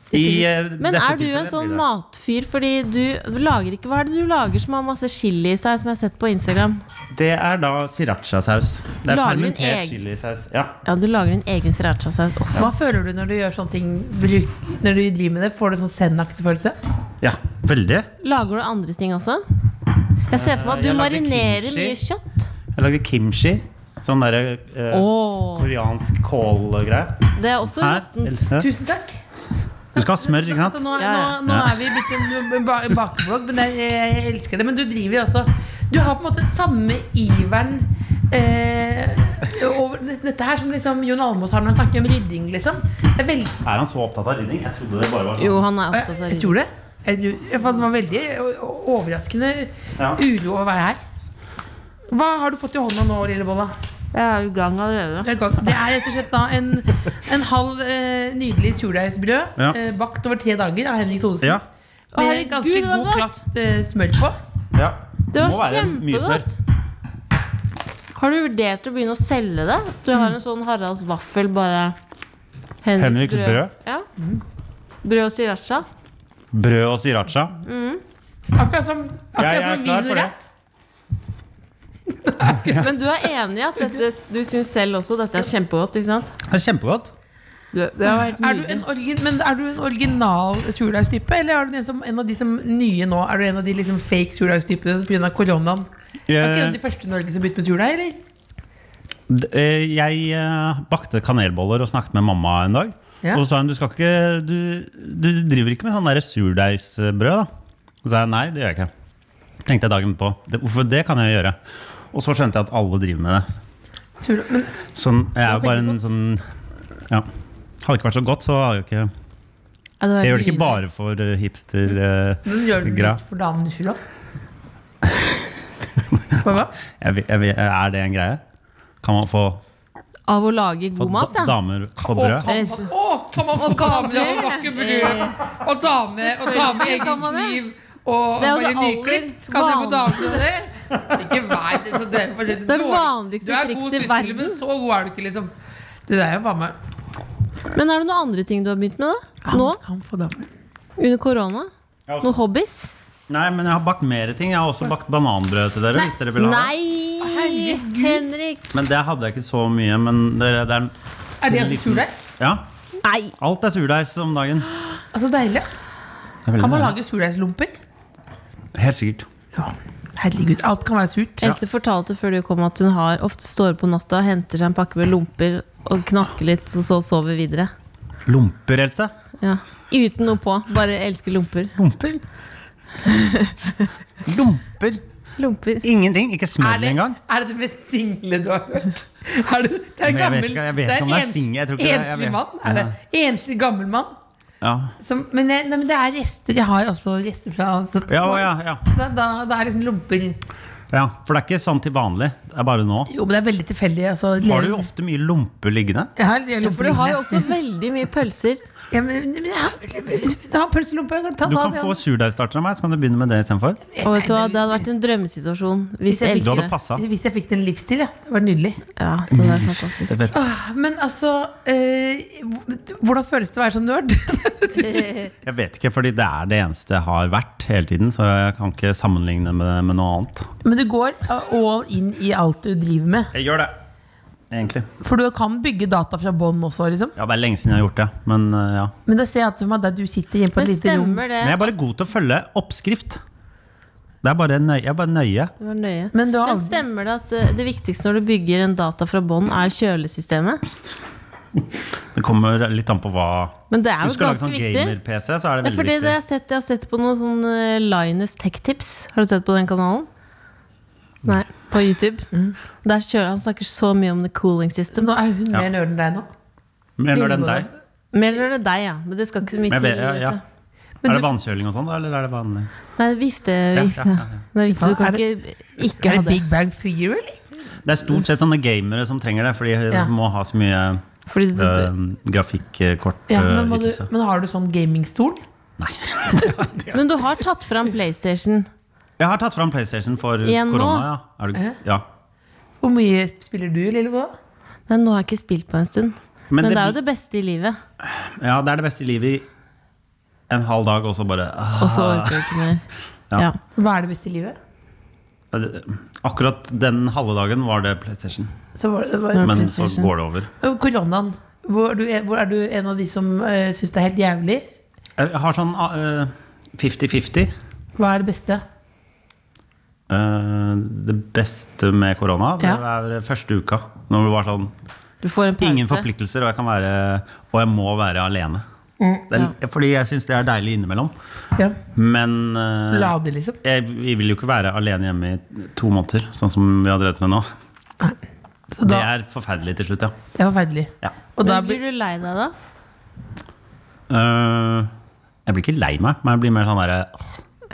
I, eh, Men dette er du en tilfellet sånn blir det. matfyr? Fordi du lager ikke Hva er det du lager som har masse chili i seg, som jeg har sett på Instagram? Det er da srirachasaus. Det er Lager du en fermentert eg- chilisaus. Ja. Ja, du lager din egen sriracha-saus også. Hva føler du når du gjør sånne ting? Bruk, når du driver med det, Får du sånn zen-aktig følelse? ja. Veldig. Lager du andre ting også? Jeg ser for meg at du Jeg lager marinerer kimchi. mye kjøtt. Jeg lagde kimchi. Sånn derre eh, Åh, koreansk kålgreie. det er også Her, råttent. Else. Tusen takk. Du skal ha smør, ikke Altså, sant? nå, er- Ja, ja. nå, nå er vi blitt en- en ba- en bakblogg, men jeg, jeg elsker det. Men du driver altså Du har på en måte samme iveren eh, over, dette her som liksom Jon Almaas har når han snakker om rydding, liksom. Det er veldig, Er han så opptatt av rydding? Jeg trodde det bare var Jo, sånn. han er jeg, opptatt av jeg rydding. tror det. Jeg, tror- jeg, fant- det var veldig o- o- overraskende Ja. uro å være her. Hva har du fått i hånda nå, lille Bolla? Jeg er i gang allerede. Det er godt. Det er rett og slett da en, en halv eh, nydelig surdeigsbrød Ja. eh, bakt over tre dager av Henrik Thodesen. Ja. Med herregud, ganske det var god, godt. klatt eh, smør på. ja. Det var Må være mye smør. kjempegodt. Har du vurdert å begynne å selge det? Du har en sånn Haralds vaffel, bare Henriks brød. Ja. Brød og sriracha. Brød og sriracha. Akkurat som, Ja, akkurat jeg er som klar vin og for det. rap. Men du er enig i at dette, du syns selv også dette er kjempegodt, ikke sant? Det er kjempegodt. Det var helt Er du en, orgin, men er du en original surdeigstype, eller er du en, som, en av de som nye nå? Er du en av de liksom fake surdeigstypene pga. koronaen? Er ikke du Eh. de første i Norge som begynte med surdeig, eller? D- eh, Jeg eh, bakte kanelboller og snakket med mamma en dag. Ja. Og så sa hun du, skal ikke, du, du driver ikke med sånn der surdeigsbrød, da? Og så sa jeg nei, det gjør jeg ikke. Tenkte jeg dagen på. Det, hvorfor det kan jeg gjøre? Og så skjønte jeg at alle driver med det. Surdeig- Men Sånn, jeg er Det jo var bare veldig en sånn Ja. Hadde det ikke vært så godt, så hadde jeg jo ikke Jeg gjør det ikke bare for eh, hipster eh, men gjør du det Gra. litt for damenes skyld òg? Hva da? jeg, vet- jeg, vet- Er det en greie? Kan man få, Av å lage få god mat, da- da. damer på Å, brød? kan man, å, kan man få dame det? og bakke brød? Og dame og ta med Selvfølgelig kan egen man det. kniv? Og Det er bare jo det aller nyklipt? Kan jeg få dame til det? Ikke vær det så døv. Det er Det er vanligste trikset i verden. Men så god er du ikke, liksom. Det der er jo bare med. Men er det noen andre ting du har begynt med, da? Nå? Kan få dame. Under korona? Ja, Noen hobbies? Nei, men jeg har bakt mer ting. Jeg har også bakt bananbrød til dere. hvis dere vil ha det. Nei! Henrik! Men det hadde jeg ikke så mye, men det, det er Er det En liten- altså surdeigs? Ja, Nei! alt er surdeigs om dagen. Altså deilig. Det er veldig Kan man deilig. lage surdeigsklumper? Helt sikkert. Ja. Herregud, alt kan være surt. Else fortalte før du kom at hun har ofte står opp på natta, henter seg en pakke med lomper og knasker litt, og så sover videre. Lomper, Else. Ja. Uten noe på. Bare elsker lomper. Lomper. Lomper. Lomper. Ingenting. Ikke Er smør det, engang. er det det mest single du har hørt? Er det, det er en Men jeg vet gammel ikke- jeg vet det er ikke om en det er ens- single, jeg tror ikke det- jeg Enslig vet- mann? Er det Enslig gammel mann? Ja. Som, men, jeg, nei, men det er rester. Jeg har også rester fra så, Ja, å, ja, ja. Da, da, da er liksom lomper Jo, ja. For det er ikke sånn til vanlig. Det er bare nå. men det er veldig tilfeldig. Altså, Har du jo ofte mye lomper liggende? Jeg har, jeg har For du har jo lomper også veldig mye pølser. liggende. ja, men, men jeg har, hvis du har pølselompe. jeg ta- Du ta kan det, få surdeigstarter av meg, så kan du begynne med det istedenfor. Og vet du hva, Det hadde vært en drømmesituasjon hvis jeg Du Else hadde passa. Hvis jeg fikk den livsstil, ja. Det var nydelig. Ja, det hadde vært fantastisk. Åh, Men altså eh, Hvordan føles det å være sånn nerd? Jeg vet ikke, fordi det er det eneste jeg har vært hele tiden, så jeg kan ikke sammenligne med, med noe annet. men du går all in i alt du driver med. Jeg gjør det. Egentlig. For du kan bygge data fra bånn også, liksom. Ja, det er lenge siden jeg har gjort det, men eh, ja. Men da ser jeg at for meg der du sitter inne på et Men lite rom. stemmer det? Men jeg er bare god til å følge oppskrift. Det er bare nøye. Jeg er bare nøye. Du var nøye. Men du har Men aldri- stemmer det at eh, det viktigste når du bygger en data fra bånn, er kjølesystemet? Det kommer litt an på hva Men det er Hvis jo du skal lage ganske sånn viktig. gamer-PC, så er det Ja, veldig fordi det jeg, har viktig. sett, jeg har sett på noen sånn eh, Linus Tech Tips. Har du sett på den kanalen? Mm. Nei, på YouTube. Der kjører Han snakker så mye om the cooling Så system. nå er hun Ja. mer nerd enn deg nå. Mer når det enn deg. Mer eller det deg, ja. Men det skal ikke så mye Men jeg til. vet, ja, ja. Else. Men Er det du- vannkjøling og sånn, da, eller er det vanlig? Nei, vifte, vifte. ja, ja, ja. Det er viktig. Du Er kan det- ikke Er ikke det ha det. Big Bang Figure, eller? Det er stort sett sånne gamere som trenger det, fordi de Ja. må ha så mye eh, Fordi det, Ja, men, må du, grafikkortytelse. men har du sånn gamingstol? men du har tatt fram PlayStation. Jeg har tatt fram PlayStation for Igjen nå? korona, ja. Er du, ja. Hvor mye spiller du, Lillebo? Nei, nå har jeg ikke spilt på en stund. Men, Men det det er blir- jo det beste i livet. ja, det er det beste i livet i en halv dag, og så bare ah. Og så orker jeg ikke mer. Ja. Ja. Hva er det beste i livet? Akkurat den halve dagen var det PlayStation, Så var det, var, men så PlayStation. går det over. koronaen. Hvor er, du, hvor er du en av de som uh, syns det er helt jævlig? Jeg har sånn eh, 50-50. Hva er det beste? Eh, det beste med korona, det Ja. er første uka. Når det var sånn Du får en pause. Ingen forpliktelser, og jeg, kan være, og jeg må være alene. Det er, Fordi jeg syns det er deilig innimellom. Ja. Men eh, Lade, liksom. jeg, vi vil jo ikke være alene hjemme i to måneder, sånn som vi har drevet med nå. Så da, Det er forferdelig til slutt, ja. det er forferdelig. Ja. Og da Men blir, blir du lei deg da? Eh, jeg blir ikke lei meg, men jeg blir mer sånn derre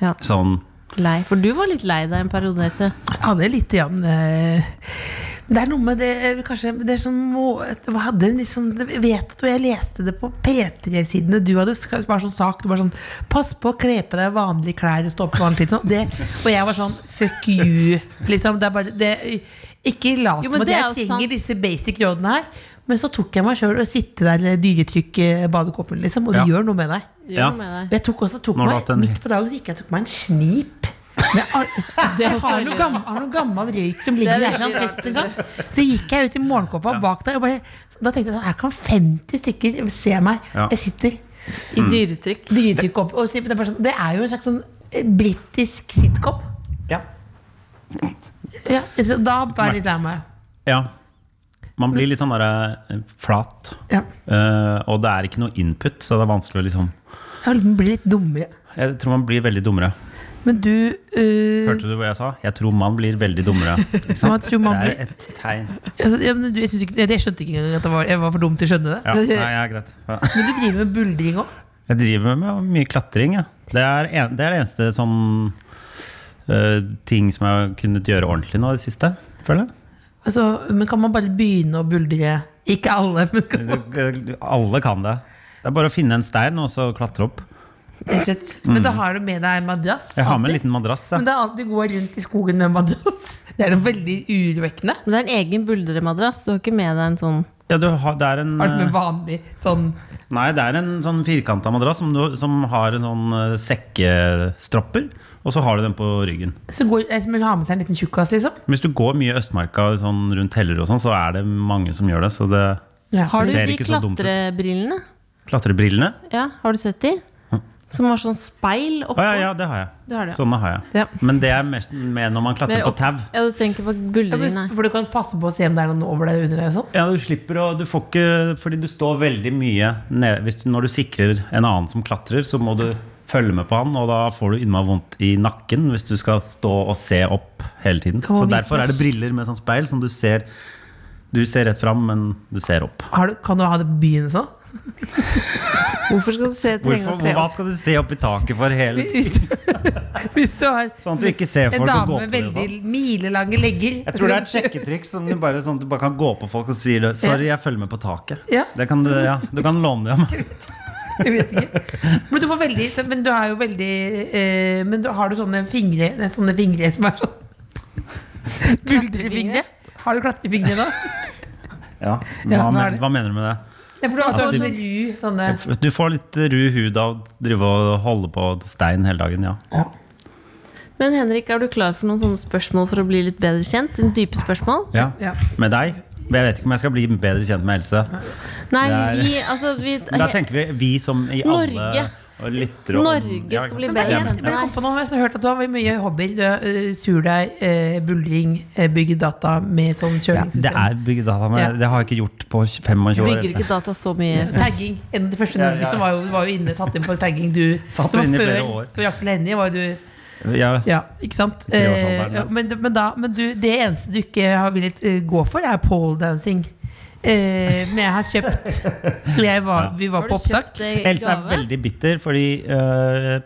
Ja. Sånn Lei. For du var litt lei deg en periode, Else. jeg hadde litt igjen Det er noe med det eh, kanskje, det som må, jeg hadde en litt sånn, jeg vet at jeg leste det på P3-sidene. Du hadde sk- bare sånn sak. Du var sånn 'Pass på å kle på deg vanlige klær og stå opp på vanlig tid'. Sånn. Det, og jeg var sånn 'fuck you'. Liksom, det er bare, det, ikke lat Jo, som men at det er jeg jo trenger sant. disse basic rådene her. Men så tok jeg meg sjøl og sitte der eh, i dyretrykk-badekåpen, liksom. Og det Ja. gjør noe med deg. Gjør Ja. noe med deg. Men jeg tok også tok Nå har du meg, hatt en- Midt på dagen så gikk jeg og tok meg en snip. Men Jeg har, jeg har, noe gammel, har noe gammel røyk som ligger i Erland fest en gang. sånn. Så gikk jeg ut i morgenkåpa bak der. Og bare, da tenkte jeg sånn Her kan 50 stykker se meg. Ja. Mm. Jeg sitter I dyretrykk. drytrykk opp. Og snip, det, er bare sånn, det er jo en slags sånn eh, britisk sitcom. Ja. Ja, så da ble jeg litt lei meg. ja. Man blir litt sånn derre eh, flat. Ja. Eh, og det er ikke noe input, så det er vanskelig å liksom Jeg blir litt dummere. Jeg tror man blir veldig dummere. Men du eh, Hørte du hva jeg sa? Jeg tror man blir veldig dummere. Ikke sant? Man tror man det blir- er et tegn. altså, ja, men du, jeg, synes ikke, jeg skjønte ikke engang at jeg var, jeg var for dum til å skjønne det. Ja, nei, ja, greit. Ja. Men du driver med buldring òg. Jeg driver med mye klatring. Ja. Det, er en, det er det eneste sånn eh, ting som jeg har kunnet gjøre ordentlig nå i det siste, føler jeg. Altså, men kan man bare begynne å buldre? Ikke alle, men kan man Du- Alle kan det. Det er bare å finne en stein og så klatre opp. Rett og slett. Men da har du med deg en madrass. Mm. Jeg har med en alltid. liten madrass. Men Ja. det er alltid gå rundt i skogen med en madrass. Det er noe veldig urovekkende. Men det er en egen buldremadrass. Du har ikke med deg en sånn Ja, du har, det er en, Har du med eh, vanlig sånn nei, det er en sånn firkanta madrass som, du, som har en sånn eh, sekkestropper, og så har du den på ryggen. Så går, eh, som vil ha med seg en liten tjukkas, liksom. Hvis du går mye i Østmarka sånn rundt heller, og sånn, så er det mange som gjør det. Så det Har du Ser de ikke så dumt ut. klatrebrillene? klatrebrillene Ja, har du sett de? Som har sånn speil Hm. Å oppå? ja, ja, det har jeg. Det har du, ja. Sånne har jeg. Ja. Men det er mest med når man klatrer Mer på opp- tau. Ja, du tenker på Ja, men- buldringene. For du kan passe på å se om det er noen over deg under deg. og Sånn. Ja, du slipper å Du får ikke Fordi du står veldig mye nede Hvis du, Når du sikrer en annen som klatrer, så må du følge med på han, og da får du innmari vondt i nakken hvis du skal stå og se opp hele tiden. man Så vite derfor er det briller med sånn speil som du ser Du ser rett fram, men du ser opp. Har du, kan du ha det på byen sånn? Hvorfor skal du se, trenge å Hvorfor, se hva opp? skal du se opp i taket for hele Hvis, tiden? hvis du har Sånn at du ikke ser en folk og dame går med på det. og sånn. veldig milelange legger. Jeg tror det er et sjekketriks som du bare, sånn, at du bare kan gå på folk og si det. 'Sorry, jeg følger med på taket'. Ja. Det kan du, ja, du kan låne det av meg. Jeg vet ikke. Men du, får veldig, men du er jo veldig eh, Men du har du sånne fingre nei, Sånne fingre som er sånn Buldrefingre? Har du klatrefingre nå? Ja, Ja, nå hva, er men, det- hva mener du med det? Ja, for du har Ja, også du- sånne ru sånne Du får litt ru hud av å drive og holde på stein hele dagen, ja. Men Henrik, er du klar for noen sånne spørsmål for å bli litt bedre kjent? En dype spørsmål? ja. Ja. Med deg? Men Jeg vet ikke om jeg skal bli bedre kjent med Else. Nei, Det er- vi, altså, vi Da tenker vi vi som i alle Norge. og lytter og Norge Ja, ikke skal sant? bli Men bedre Ja, jeg, men- kjent. men jeg kom på noe, jeg har hørt at du har mye hobbyer. Du har eh, surdeig, eh, buldring, eh, bygge data med sånn Ja, det kjølingssystem. er bygdata, men Ja. det har jeg ikke gjort på 25 år. Bygger ikke data så mye. Tagging. En av de første i Ja, Norge ja. som var jo, var jo inne, satt inn på tagging. Du, Satt det var inne i flere før- år. Før Aksel Hennie var du Ja, Ja, ikke sant? I treårsalderen, Eh, ja. men, men, da, men du, det eneste du ikke har villet eh, gå for, er poledancing. Eh, men jeg har kjøpt eller jeg var, Vi var Har du på opptak. kjøpt det i Else er gave? veldig bitter fordi øh,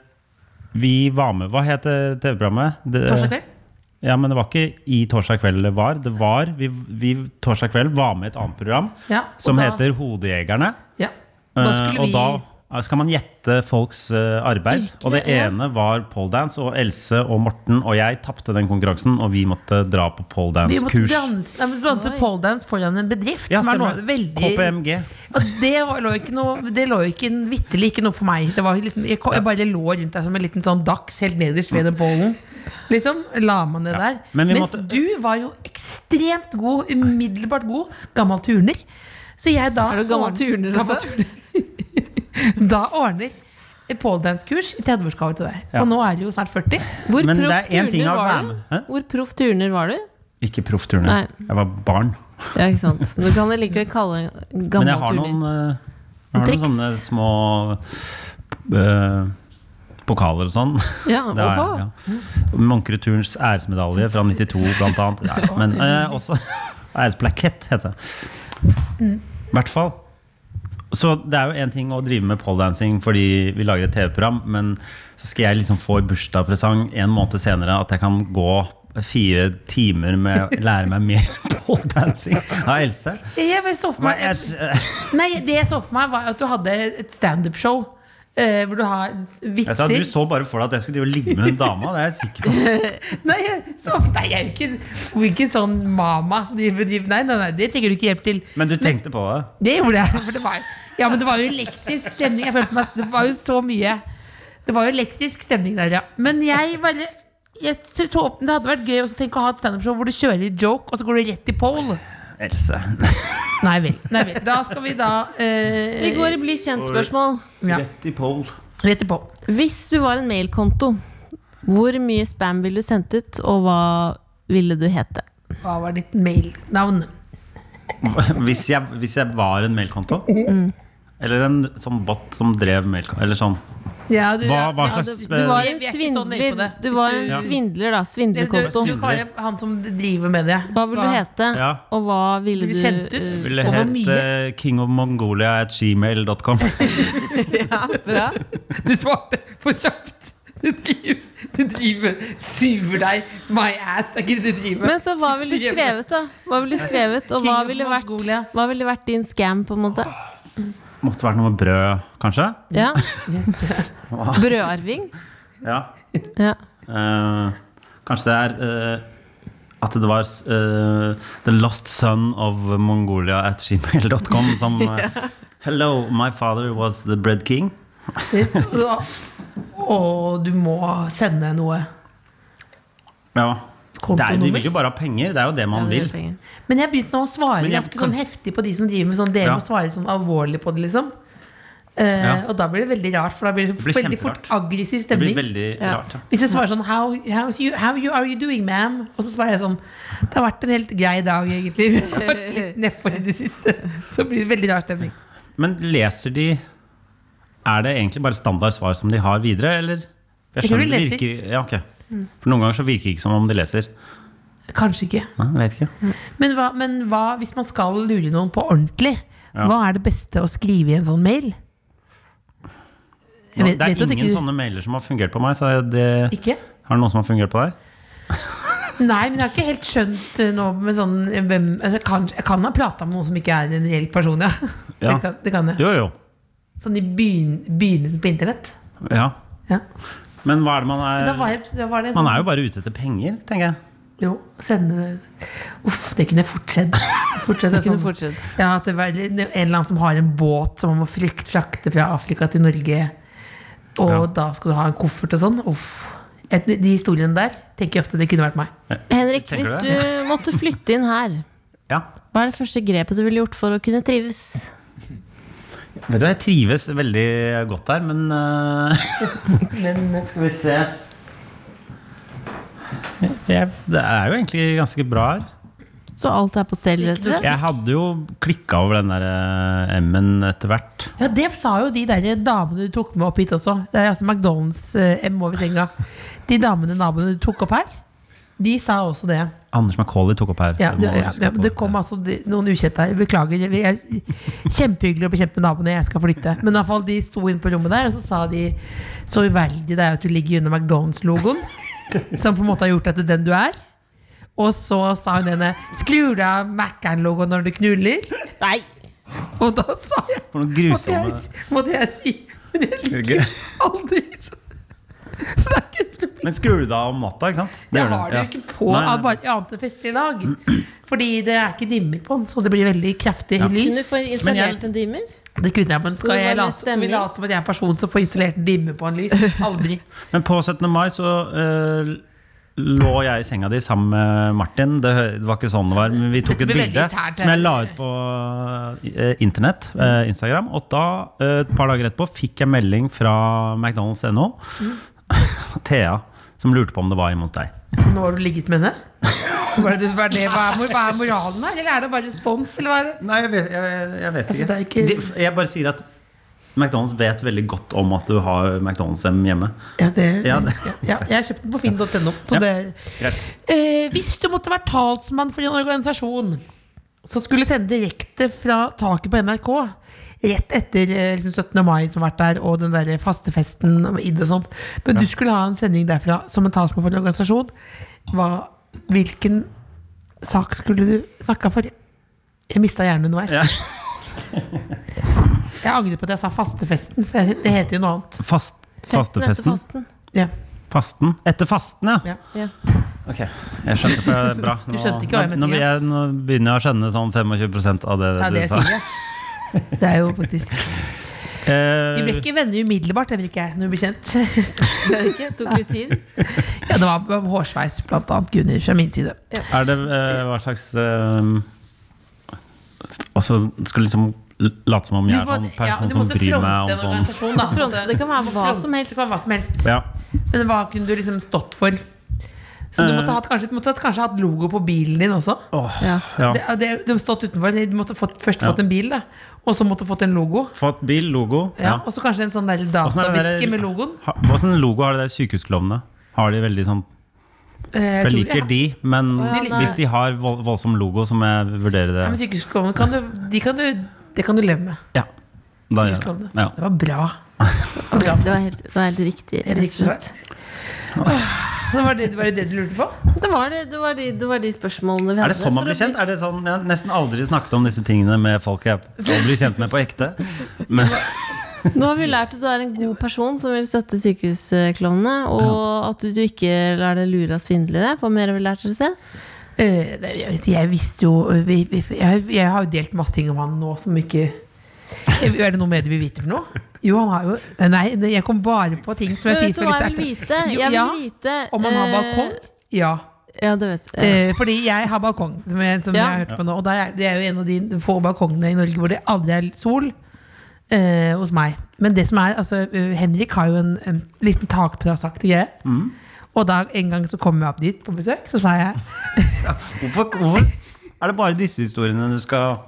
vi var med Hva het det TV-programmet? Det- Torsdag kveld? Ja, men det var ikke i Torsdag kveld det var. Det var vi, vi torsdag kveld var med i et annet program Ja, og som da- heter Hodejegerne. Ja. Da Eh, skulle og vi da eh, skal man gjette folks eh, arbeid. Yrke, og det ja. ene var poledance, og Else og Morten og jeg tapte den konkurransen, og vi måtte dra på vi måtte poledance-kurs. danse, nei, men danse Oi. poledance foran en bedrift. Ja, som er noe stemmer. veldig KPMG. Og det var, lå ikke noe Det lå ikke vitterlig ikke noe for meg. Det var liksom, jeg, kom- jeg bare lå rundt der som en liten sånn dachs helt nederst ved den pollen. Liksom, la man det der. men vi Mens måtte- du var jo ekstremt god, umiddelbart god, gammel turner. Så jeg da Er du gammel ordn- turner gammel også? turner. da ordner et poledance-kurs i 30-årsgave til deg. Ja. Og nå er du jo snart 40. Hvor Men det proff er én ting turner å var være du? med. Hæ? Hvor proff turner var du? Ikke proffturner. Nei. Jeg var barn. Ja, ikke sant. Men du kan det likevel kalle en Men gammel jeg har turner. noen, eh, jeg har noen Triks. sånne små eh, pokaler og sånn. Ja, Det har jeg, oha. ja. Munkerud Turns æresmedalje fra 92, blant annet. Nei, men eh, også Æresplakett heter det. Mm. I hvert fall. Så det er jo én ting å drive med poledancing fordi vi lager et TV-program, men så skal jeg liksom få i bursdagspresang en måned senere at jeg kan gå fire timer med å lære meg mer poledancing av Else. Jeg bare så for Men meg jeg, Nei, det jeg så for meg, var at du hadde et standup-show. eh, hvor du har jeg vet at vitser. Du så bare for deg at jeg skulle drive og ligge med hun dama. Det er jeg sikker på. Nei, jeg, så, nei, jeg er jo ikke, hun er ikke en sånn mama som driver og driver. Nei, nei, nei, det trenger du ikke hjelp til. Men du tenkte på det. Det gjorde jeg. For det var, ja, men det var jo elektrisk stemning. Jeg følte meg, Det var jo så mye Det var jo elektrisk stemning der, ja. Men jeg bare jeg tror, Det hadde vært gøy også, tenk, å ha et standup-show hvor du kjører joke, og så går du rett i pole. Else. Nei vel. Nei, vel. Da skal vi da eh, Vi går i bli kjent-spørsmål. ja, Rett i pole. rett i pole. Hvis du var en mailkonto, hvor mye spam ville du sendt ut, og hva ville du hete? Hva var ditt mailnavn? Hvis jeg, hvis jeg var en mailkonto? Eller en sånn bot som drev mailkonto? Eller sånn. Ja, du, Hva, hva ja, slags eh, du- Du var en Eh, Vi er ikke så nøye på svindler, det. du var Hvis en du- svindler da. du, du, Svindlerkonto. du kan være han som driver med det. Hva ville du hete, Ja. og hva Ville ville du du sendt ut? eh, Ville Så hvor hete kingofmongolia.gmail.com. Eh, Du svarte for kjapt. Du driver, du driver Suger deg. My ass. Det er ikke det du driver med. Men så hva ville du skrevet, da? Hva ville du skrevet, Og King hva of ville vært, Mongolia. hva ville vært din scam, på en måte? Måtte vært noe med brød, kanskje? Ja. Brødarving? Ja. Ja. Eh, kanskje det er eh, at det var eh, The Lost Son of Mongolia at gmail.com som eh, Hello, my father was the bread king. Og du må sende noe. Ja. Det er, de Kontonummer? vil jo bare ha penger. Det er jo det man vil. Men jeg begynte nå å svare Men jeg ganske kan- sånn heftig på de som driver med sånn Dere Ja. må svare sånn alvorlig på det, liksom. Eh, Ja. Og da blir det veldig rart, for da blir det, Det blir veldig fort kjemperart. aggressiv Det stemning. blir veldig rart. Ja. Hvis jeg svarer sånn How, how's you, how you are you doing, ma'am? Og så svarer jeg sånn Det har vært en helt grei dag, egentlig. Det har vært litt Nedfor i det siste. Så blir det veldig rar stemning. Men leser de Er det egentlig bare standard svar som de har videre, eller? Jeg Jeg tror de skjønner det leser. virker, ja, ok. For noen ganger så virker det ikke som om de leser. Kanskje ikke. Nei, jeg vet ikke. Men, hva, men hva, hvis man skal lure noen på ordentlig, hva er det beste å skrive i en sånn mail? Jeg vet- det vet er at ingen ikke- sånne mailer som har fungert på meg. Så det, Ikke? har det noen som har fungert på deg? Nei, men jeg har ikke helt skjønt eh, nå med sånn eh, hvem, altså, kan, Jeg kan ha prata med noen som ikke er en reell person, ja. Ja. Det, kan, det kan jeg. Jo, jo. Sånn i begyn, begynnelsen på internett. Ja. Ja. Men hva er det man Da var, er jeg, da var det en Man sånn er jo bare ute etter penger, tenker jeg. Jo, sende det Uff, det kunne fortsett. Fortsett, det Kunne sånn. fortsette. Ja, at det var en eller annen som har en båt som man må flykt, frakte fra Afrika til Norge, og Ja. da skal du ha en koffert og sånn. Uff. Et, de historiene der tenker jeg ofte det kunne vært meg. Henrik, Tenker hvis du du måtte flytte inn her, Ja. hva er det første grepet du ville gjort for å kunne trives? Vet du, hva, Jeg trives veldig godt her, men eh, Men Skal vi se jeg, Det er jo egentlig ganske bra her. Så alt er på stell, rett og slett? Jeg hadde jo klikka over den der eh, M-en etter hvert. Ja, det sa jo de der damene du tok med opp hit også. Det er altså McDonald's eh, M over senga. De damene naboene du tok opp her, de sa også det. Anders McCauley tok opp her. Ja, Jeg må det, ja, huske ja, på det kom altså de- noen ukjente her. Beklager. jeg- jeg- Kjempehyggelig å bekjempe naboene. Jeg skal flytte. Men i alle fall, de sto inne på rommet der, og så sa de så uverdig det er at du ligger under McDonald's-logoen, som på en måte har gjort deg til den du er. Og så sa hun ene 'skrur du av Mækkern-logoen når du knuller'? Nei! Og da sa jeg For noen måtte jeg, grusomme måtte jeg si Men jeg liker aldri så så det er ikke et problem. Men skrur du da om natta, ikke sant? Jeg gjør du, har det jo ja. ikke på Nei, nei. av bare i annet enn festlige lag. Fordi det er ikke dimmer på den, så det blir veldig kraftig Kunne du lys. få installert en dimmer? Det kunne jeg, men Så skal det jeg var late mest som stemning? at jeg er person som får installert en dimmer på en lys? Aldri. Men på 17. mai så eh, lå jeg i senga di sammen med Martin. Det, hø- det var ikke sånn det var, men vi tok Det et blir bilde veldig internt, som jeg la ut på eh, internett. eh, Instagram. Og da, eh, et par dager etterpå, fikk jeg melding fra McDonald's.no. Mm. Thea, som lurte på om det var imot deg. Nå har du ligget med henne? Hva er, det, hva, er det, hva, er, mor- hva er moralen her? Eller er det bare respons? Eller hva er det? Nei, jeg vet, jeg, jeg vet Altså, ikke. det er ikke- De, jeg bare sier at McDonald's vet veldig godt om at du har McDonald's M hjemme. Ja, det, Ja, det- ja, jeg har kjøpt den på finn.no. Så Ja. det Greit. Eh, hvis du måtte vært talsmann for en organisasjon, som skulle sende direkte fra taket på NRK rett etter eh, liksom 17. mai som har vært der, og den der fastefesten og id og sånt. Men du skulle ha en sending derfra som en talsmann for en organisasjon. Hva, hvilken sak skulle du snakka for? Jeg mista hjernen underveis. jeg angrer på at jeg sa fastefesten, for jeg- det heter jo noe annet. Fast, fastefesten? fasten. Ja. Fasten? Etter fasten, ja. Ja. Ja. Ok, jeg skjønte for det er bra. Du skjønte ikke hva jeg mente nå, nå, blir jeg, nå begynner jeg å skjønne sånn 25 av det, Det er du det jeg sa. sier. Det er jo faktisk Vi ble Eh, ikke venner umiddelbart, det ikke jeg, når vi ble kjent. Det er ikke, tok litt tid. Ja, det var hårsveis, blant annet Gunnhild fra min side. er det eh, hva slags eh, Altså, skal liksom late som om jeg er sånn person som bryr meg om sånn organisasjon. Da. Fronte, det kan være hva Fronte, som helst. det kan være hva som helst. ja. Men hva kunne du liksom stått for? Så du Eh. måtte hatt, kanskje, du måtte hatt- kanskje hatt logo på bilen din også. Åh, Ja. ja. Det, det, du måtte stått utenfor, du måtte fått, først Ja. fått en bil, da. og så måtte du fått en logo. Fått bil, logo. Ja, Ja. Og så kanskje en sånn der Åssen er det der- dataviske med logoen. Ha- Åssen logo har de der sykehusklovnene? Har de veldig sånn Eh, For jeg tror liker jeg. de, men ja, nei. hvis de har vold, voldsom logo, så må jeg vurdere Ja, det. men sykehusklovnene kan du, de kan du, det kan du leve med. Ja, da gjør jeg det. Sykehusklovnene. Ja. Det var bra. Det var bra. Det var helt, det var helt riktig. rett og Riktig slett. svar. Åh, var, det, var det det du lurte på? Det var, det, det, var de, det var de spørsmålene vi hadde. Er det sånn man for å blir kjent? Er det sånn, jeg har nesten aldri snakket om disse tingene med folk jeg skal bli kjent med på ekte. Men bli- Nå har vi lært at du er en god person som vil støtte sykehusklovnene, og at du, du ikke lar deg lure av svindlere. Hva mer har vi lært dere å se? Eh, det- jeg, jeg visste jo eh, vi, vi, jeg, jeg har jo delt masse ting om han nå som ikke Er det noe medier vil vite for noe? Jo, han har jo Nei, det- jeg kom bare på ting som jeg Men sier vet du for hva litt jeg vil sterkt. vite? Jo, Jeg vil ja, vite Om han har eh, balkong? Ja. Ja, det vet jeg. Eh, fordi jeg har balkong, som jeg, som Ja. jeg har hørt på nå. Og det er, det er jo en av de få balkongene i Norge hvor det aldri er sol. eh, hos meg. Men det som er, altså, eh, Henrik har jo en, en liten takterrasseaktig greie. Og da en gang så kom jeg opp dit på besøk, så sa jeg hvorfor, hvorfor er det bare disse historiene du skal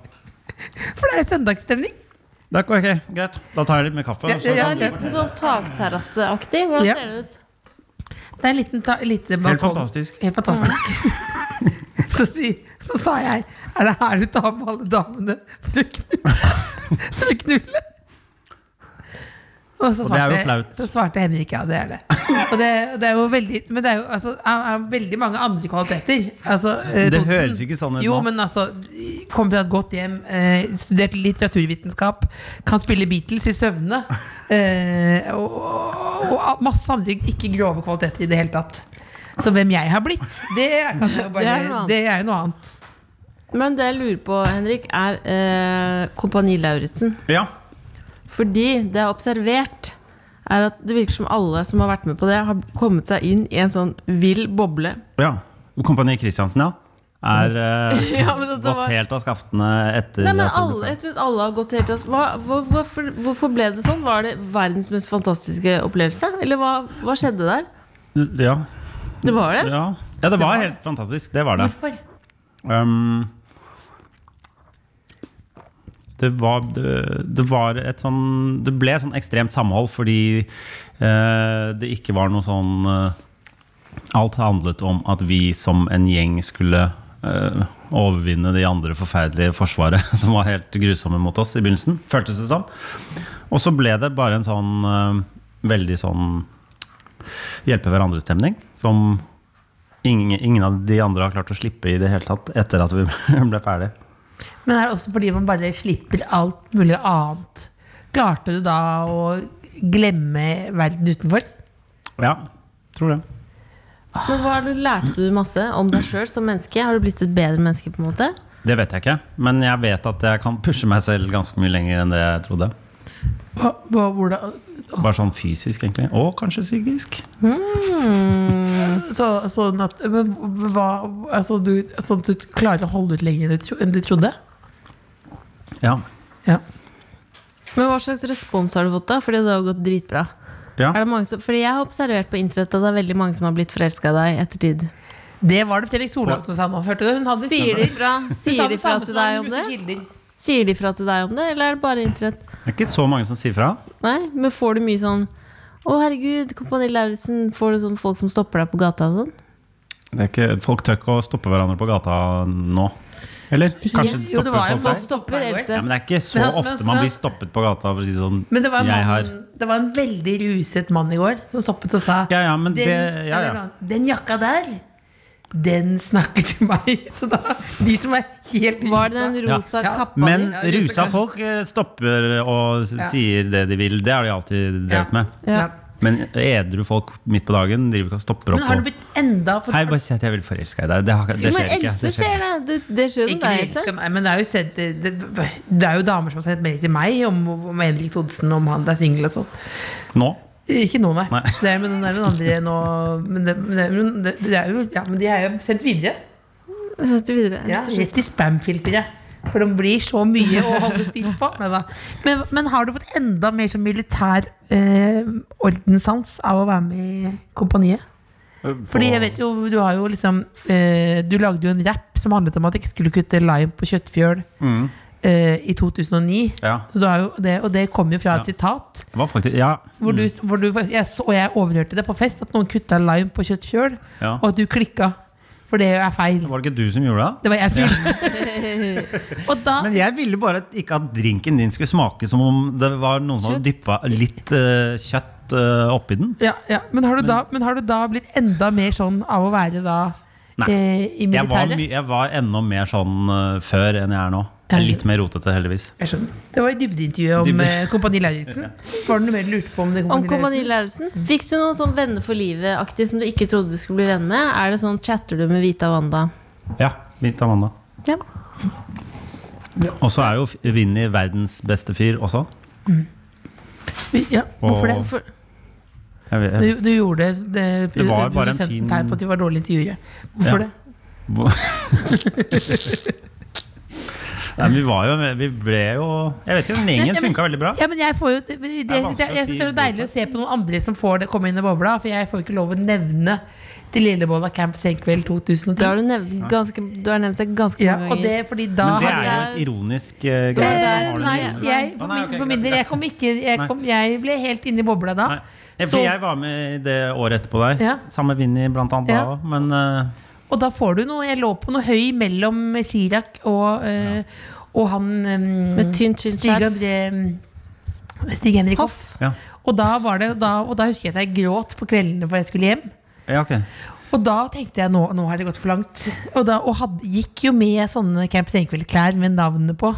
For det er jo søndagsstemning. Det er ikke- ok, greit. Da tar jeg litt mer kaffe. og så Ja, det kan er du- litt sånn takterrasseaktig. Hvordan Ja. ser det ut? Det er en liten, ta, lite Helt balkong. fantastisk. Helt fantastisk. så, si, så sa jeg Er det her du tar med alle damene for å knulle? For å knulle? Og så Og det er svarte, jo flaut. så svarte Henrik ja, det er det. Og det, og det er jo veldig Men det er jo altså, han har veldig mange andre kvaliteter. Altså, eh, Det Thotsen- høres ikke sånn ut Jo, nå. men altså Kom fra et godt hjem, eh, studert litteraturvitenskap, kan spille Beatles i søvne. Eh, og, og, og masse andre ikke grove kvaliteter i det hele tatt. Så hvem jeg har blitt, det, kan jeg jo bare, Det det, er er jo noe annet. noe annet. Men det jeg lurer på, Henrik, er eh, Kompani Lauritzen. Ja. Fordi det jeg har observert, er at det virker som alle som har vært med på det, har kommet seg inn i en sånn vill boble. ja. Kompani Kristiansen, ja. Er eh, Ja, men dette var- gått helt av skaftene etter Nei, men at du- alle, jeg synes alle har gått helt av hva, hvor, hvorfor, hvorfor ble det sånn? Var det verdens mest fantastiske opplevelse? Eller hva, hva skjedde der? Ja. Det var det? Ja, ja det var helt fantastisk. Det var det. Hvorfor? Um, det var, det, det var et sånn Det ble sånn ekstremt samhold fordi eh, det ikke var noe sånn eh, Alt handlet om at vi som en gjeng skulle eh, overvinne de andre forferdelige forsvaret som var helt grusomme mot oss i begynnelsen. Føltes det som. Og så ble det bare en sånn eh, veldig sånn hjelpe hverandre-stemning. Som ingen, ingen av de andre har klart å slippe i det hele tatt etter at vi ble ferdig. Men er det også fordi man bare slipper alt mulig annet? Klarte du da å glemme verden utenfor? Ja, tror det. Men hva har du- Lærte du masse om deg sjøl som menneske? Har du blitt et bedre menneske? på en måte? Det vet jeg ikke, men jeg vet at jeg kan pushe meg selv ganske mye lenger enn det jeg trodde. Hva, hva, hvordan, Bare sånn fysisk, egentlig. Og kanskje psykisk. så, sånn at men, hva, altså, du, Sånn at du klarer å holde ut lenger enn du tro- enn du trodde? Ja. Ja. Men hva slags respons har du fått da? Fordi det har jo gått dritbra. ja. Er det mange som, fordi jeg har observert på internett at det er veldig mange som har blitt forelska i deg i ettertid. Det var det Fredrik Solvang som sa nå. Hørte du? Hun hadde Sier de fra, sier de fra til deg om det? Kilder. Sier de fra til deg om det, eller er det bare internett? Det er ikke så mange som sier fra. Nei, men får du mye sånn å, herregud, Kompani Lauritzen. Får du sånn folk som stopper deg på gata og sånn? Det er ikke, folk tør ikke å stoppe hverandre på gata nå. Eller kanskje Jo, Jo, det det stoppe var jo for folk folk? stopper Else. Ja, men det er ikke så Men han- ofte men- man men- blir stoppet på gata for å si det sånn Men det var, en jeg har mann- det var en veldig ruset mann i går som stoppet og sa Ja, ja, men det- den, ja, ja. eller, den jakka der, den snakker til meg. Så da, de som er helt Var det den Ja. rosa Ja. kappa Men di? Ja, rusa rusa kan- folk eh, stopper og s- Ja. sier det de vil. Det har de alltid drevet med. Ja. Men edru folk midt på dagen driver ikke og stopper Men opp har du og blitt enda for, Hei, bare si at jeg vil forelske deg i deg. Det, har, det Men skjer ikke. Else Det skjer skjer ikke. det. Det, det skjer jo Ikke med deg, elsker Else. meg, men det er jo sendt det, det, det er jo damer som har sendt melding til meg om, om Henrik Thodesen, om han er singel og sånn. Nå? Ikke nå, nei. Nei. Det er, men den er den andre nå men, det, men, det, men det, det er jo, ja, men de er jo sendt videre. Så setter vi videre. Ja, rett i spamfilteret. For det blir så mye å holde styr på. Neida. Men, men har du fått enda mer sånn militær eh, ordenssans av å være med i kompaniet? Fordi jeg vet jo, du har jo liksom eh, Du lagde jo en rap som handlet om at jeg ikke skulle kutte lime på kjøttfjøl eh, i 2009. Ja. Så du har jo det, og det kom jo fra et sitat. Det var faktisk Ja. Hvor du, hvor du, jeg så, og jeg overhørte det på fest, at noen kutta lime på kjøttfjøl. Ja. Og at du klikka. For det er feil. Var det ikke du som gjorde det? Det var jeg som gjorde det. og da Men jeg ville bare at- ikke at drinken din skulle smake som om det var noen som hadde dyppa litt eh, kjøtt eh, oppi den. Ja, ja. Men, har du da, men har du da blitt enda mer sånn av å være da Nei. eh, i Jeg var, militæret? my, jeg var enda mer sånn eh, før enn jeg er nå. Jeg er litt mer rotete, heldigvis. Jeg skjønner. Det var i dybdeintervjuet om Dybde. eh, Kompani Lauritzen. Var det noe mer du lurte på om det Om Kompani Kompani Lauritzen? Lauritzen. Fikk du noe sånn venner for livet-aktig som du ikke trodde du skulle bli venn med? Er det sånn chatter du med Vita Wanda? Ja, litt Amanda. Ja. Og så er jo F- Vinni verdens beste fyr også. Ja, hvorfor det? Og- For, Jeg vet, Du, jeg, du gjorde det, Det var bare en du sendte fin- tegn på at de var dårlige intervjuere. Hvorfor Ja. det? Nei, men vi var jo Vi ble jo Jeg vet ikke, den Ja, gjengen men- funka veldig bra. Ja, men jeg får jo det, det, Det er jeg synes jeg, vanskelig å jeg synes det er si så deilig å se på noen andre som får det komme inn i bobla, for jeg får jo ikke lov å nevne til Lillebolla camp senkveld det 2010. har du nevnt ganske, du har nevnt det ganske Ja, mange og det ganger. er fordi da Men det har er jeg jo jeg- et ironisk eh, Eh, greie. Har du Nei, noen- jeg, Å, for nei, min, for ok, greit, min del, greit. jeg kom ikke jeg, Nei. kom, jeg ble helt inne i bobla da. Nei. Ja, Så- for jeg var med i det året etterpå der. Ja. Sammen med Vinni, blant annet. Ja. Da, også, men eh, Og da får du noe Jeg lå på noe høy mellom Chirac og, eh, og han em, Med tynt, tynt Stig skjerf. André em, Stig Henrik Hoff. ja. Og da, var det, da, og da husker jeg at jeg gråt på kveldene for jeg skulle hjem. ja, ok. Og da tenkte jeg nå, nå har det gått for langt. Og, da, og hadde, gikk jo med sånne Camp Senkveld-klær med navnet på.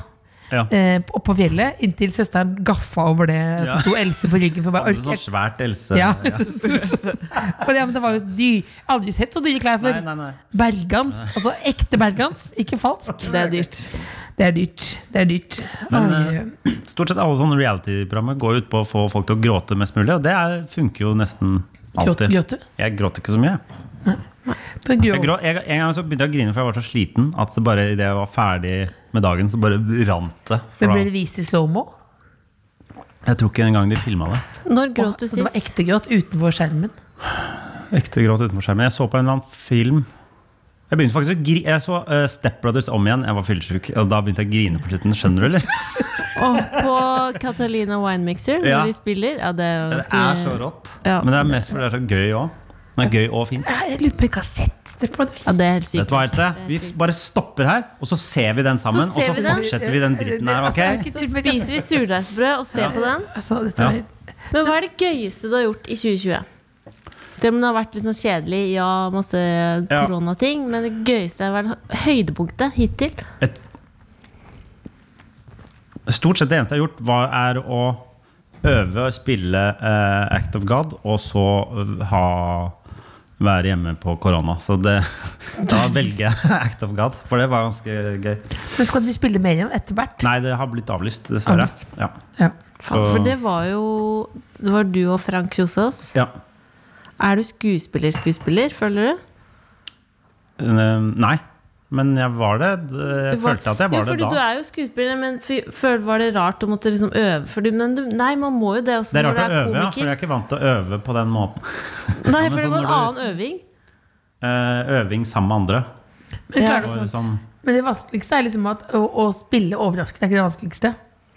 Ja. Eh, Oppå fjellet, inntil søsteren gaffa over det. Ja. Det sto Else på ryggen. For bare, Hadde orker sånn svært Else Ja, ja. så stort. For ja, men det var jo dyr. Aldri sett så dyre klær før. Nei, nei, nei. Bergans. Altså ekte bergans, ikke falsk. Det er dyrt. Det er dyrt. Det er dyrt. Men, Ai, eh, Stort sett alle sånne reality-programmer går ut på å få folk til å gråte mest mulig, og det er, funker jo nesten gråt, alltid. gråt du? Jeg gråter ikke så mye. Men grå- Jeg grå, jeg, en gang så begynte jeg å grine, for jeg var så sliten at det bare idet jeg var ferdig med dagen, så bare rant det. Men For ble det da- vist i slow-mo? Jeg tror ikke engang de filma det. Når gråt du Så altså, det var sist? ekte gråt utenfor skjermen? Ekte gråt utenfor skjermen. Jeg så på en eller annen film Jeg begynte faktisk å gri Jeg så eh, Step Brothers om igjen. Jeg var fyllesyk, og da begynte jeg å grine på slutten. Skjønner du, eller? Og på Catalina Winemixer, når Ja. de spiller? Ja, det er, Det ganske- er så rått. Ja. Men det er mest fordi det er så gøy òg. Det er gøy og fint. Nei, Jeg lurer på om jeg ikke har sett det. på et vis. Ja, det er helt sykt. Vet du hva, Else? Det er Vi sykt. bare stopper her, og så ser vi den sammen. Så ser og vi så den. fortsetter vi den dritten her, Altså, jeg har ok? ikke- Så spiser vi surdeigsbrød og ser på den. Altså, dette Ja. er- Men hva er det gøyeste du har gjort i 2020? Selv om det har vært litt sånn kjedelig, ja, masse koronating, men det gøyeste har vært høydepunktet hittil. Et, stort sett det eneste jeg har gjort, var, er å øve og spille eh, Act of God, og så eh, ha være hjemme på korona. Så det, da velger jeg Act of God, for det var ganske gøy. Men skal du spille mer igjen etter hvert? Nei, det har blitt avlyst, dessverre. Avlyst. Ja. Ja. Faen, Så- for det var jo Det var du og Frank Kjosås. ja. Er du skuespiller-skuespiller, føler du? Eh, Nei, men jeg var det. Jeg Du var- følte at jeg var jo, det fordi da. Du er jo skuespiller, men fy- føl- var det rart å måtte liksom øve for du, men du, Nei, man må jo det også Det er når rart du å er øve, ja, for komiker. jeg er ikke vant til å øve på den måten. Nei, Ja, men for det sånn var en når annen øving. Eh, øving sammen med andre. Men, Ja. klarer Og du sånn. liksom, men det vanskeligste er liksom at å, å spille overraskende er ikke det vanskeligste.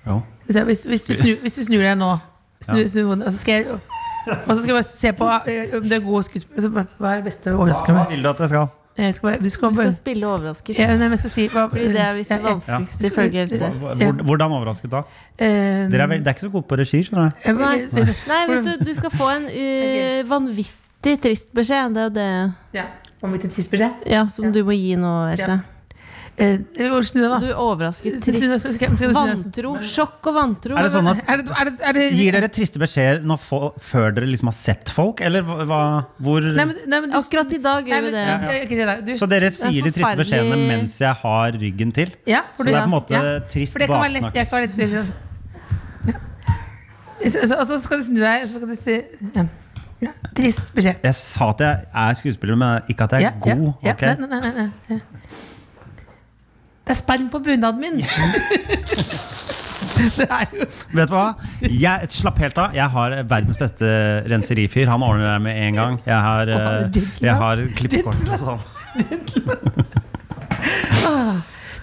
jo. Hvis, jeg- hvis, hvis, du, snur, hvis du snur deg nå, snu, Ja. snu hodet, og så skal jeg og så skal jeg bare se på eh, om du er god skuespiller. så bare, Hva er det beste å overraske Hva meg? vil du at jeg skal? Jeg skal, bare- du skal, Du skal bare- spille overrasket. ja, nei, men jeg skal si hva, Fordi det er visst det vanskeligste, ifølge Else. Hva- hvor- Hvordan overrasket da? eh, Dere er, vel, det er ikke så gode på regi, skjønner du. Nei. Nei, vet du, du skal få en eh, vanvittig trist beskjed. Det er jo det Ja, om hvilken tidsbeskjed? ja, som du må gi nå, Else. Eh, Snu deg, da. Du er overrasket, Snu deg, trist. skal- skal- skal du snu deg? Vantro. Sjokk og vantro. Er det sånn at Er det, er det, er det, Gir dere triste beskjeder nå få- før dere liksom har sett folk, eller hva- hva, hvor Nei, men, nei, men du, Akkurat i dag nei, gjør vi men, det. ja, ja, ikke det da. Du, Så dere sier de triste forferdelig- beskjedene mens jeg har ryggen til? ja, for Så du- det er på en måte ja. trist For det kan være lett- baksnakk. jeg kan være lett- sånn. Ja. Så- så- Og så skal du snu deg, så skal du si ja. Ja. Trist beskjed. Jeg sa at jeg er skuespiller, men ikke at jeg er god. ja, ok? Nei, nei, nei, nei, nei. Det er sperm på bunaden min! det er jo Vet du hva? Jeg slapp helt av. Jeg har verdens beste renserifyr. Han ordner det med en gang. Jeg har, faen, eh, gentleman. jeg har klippekort og sånn.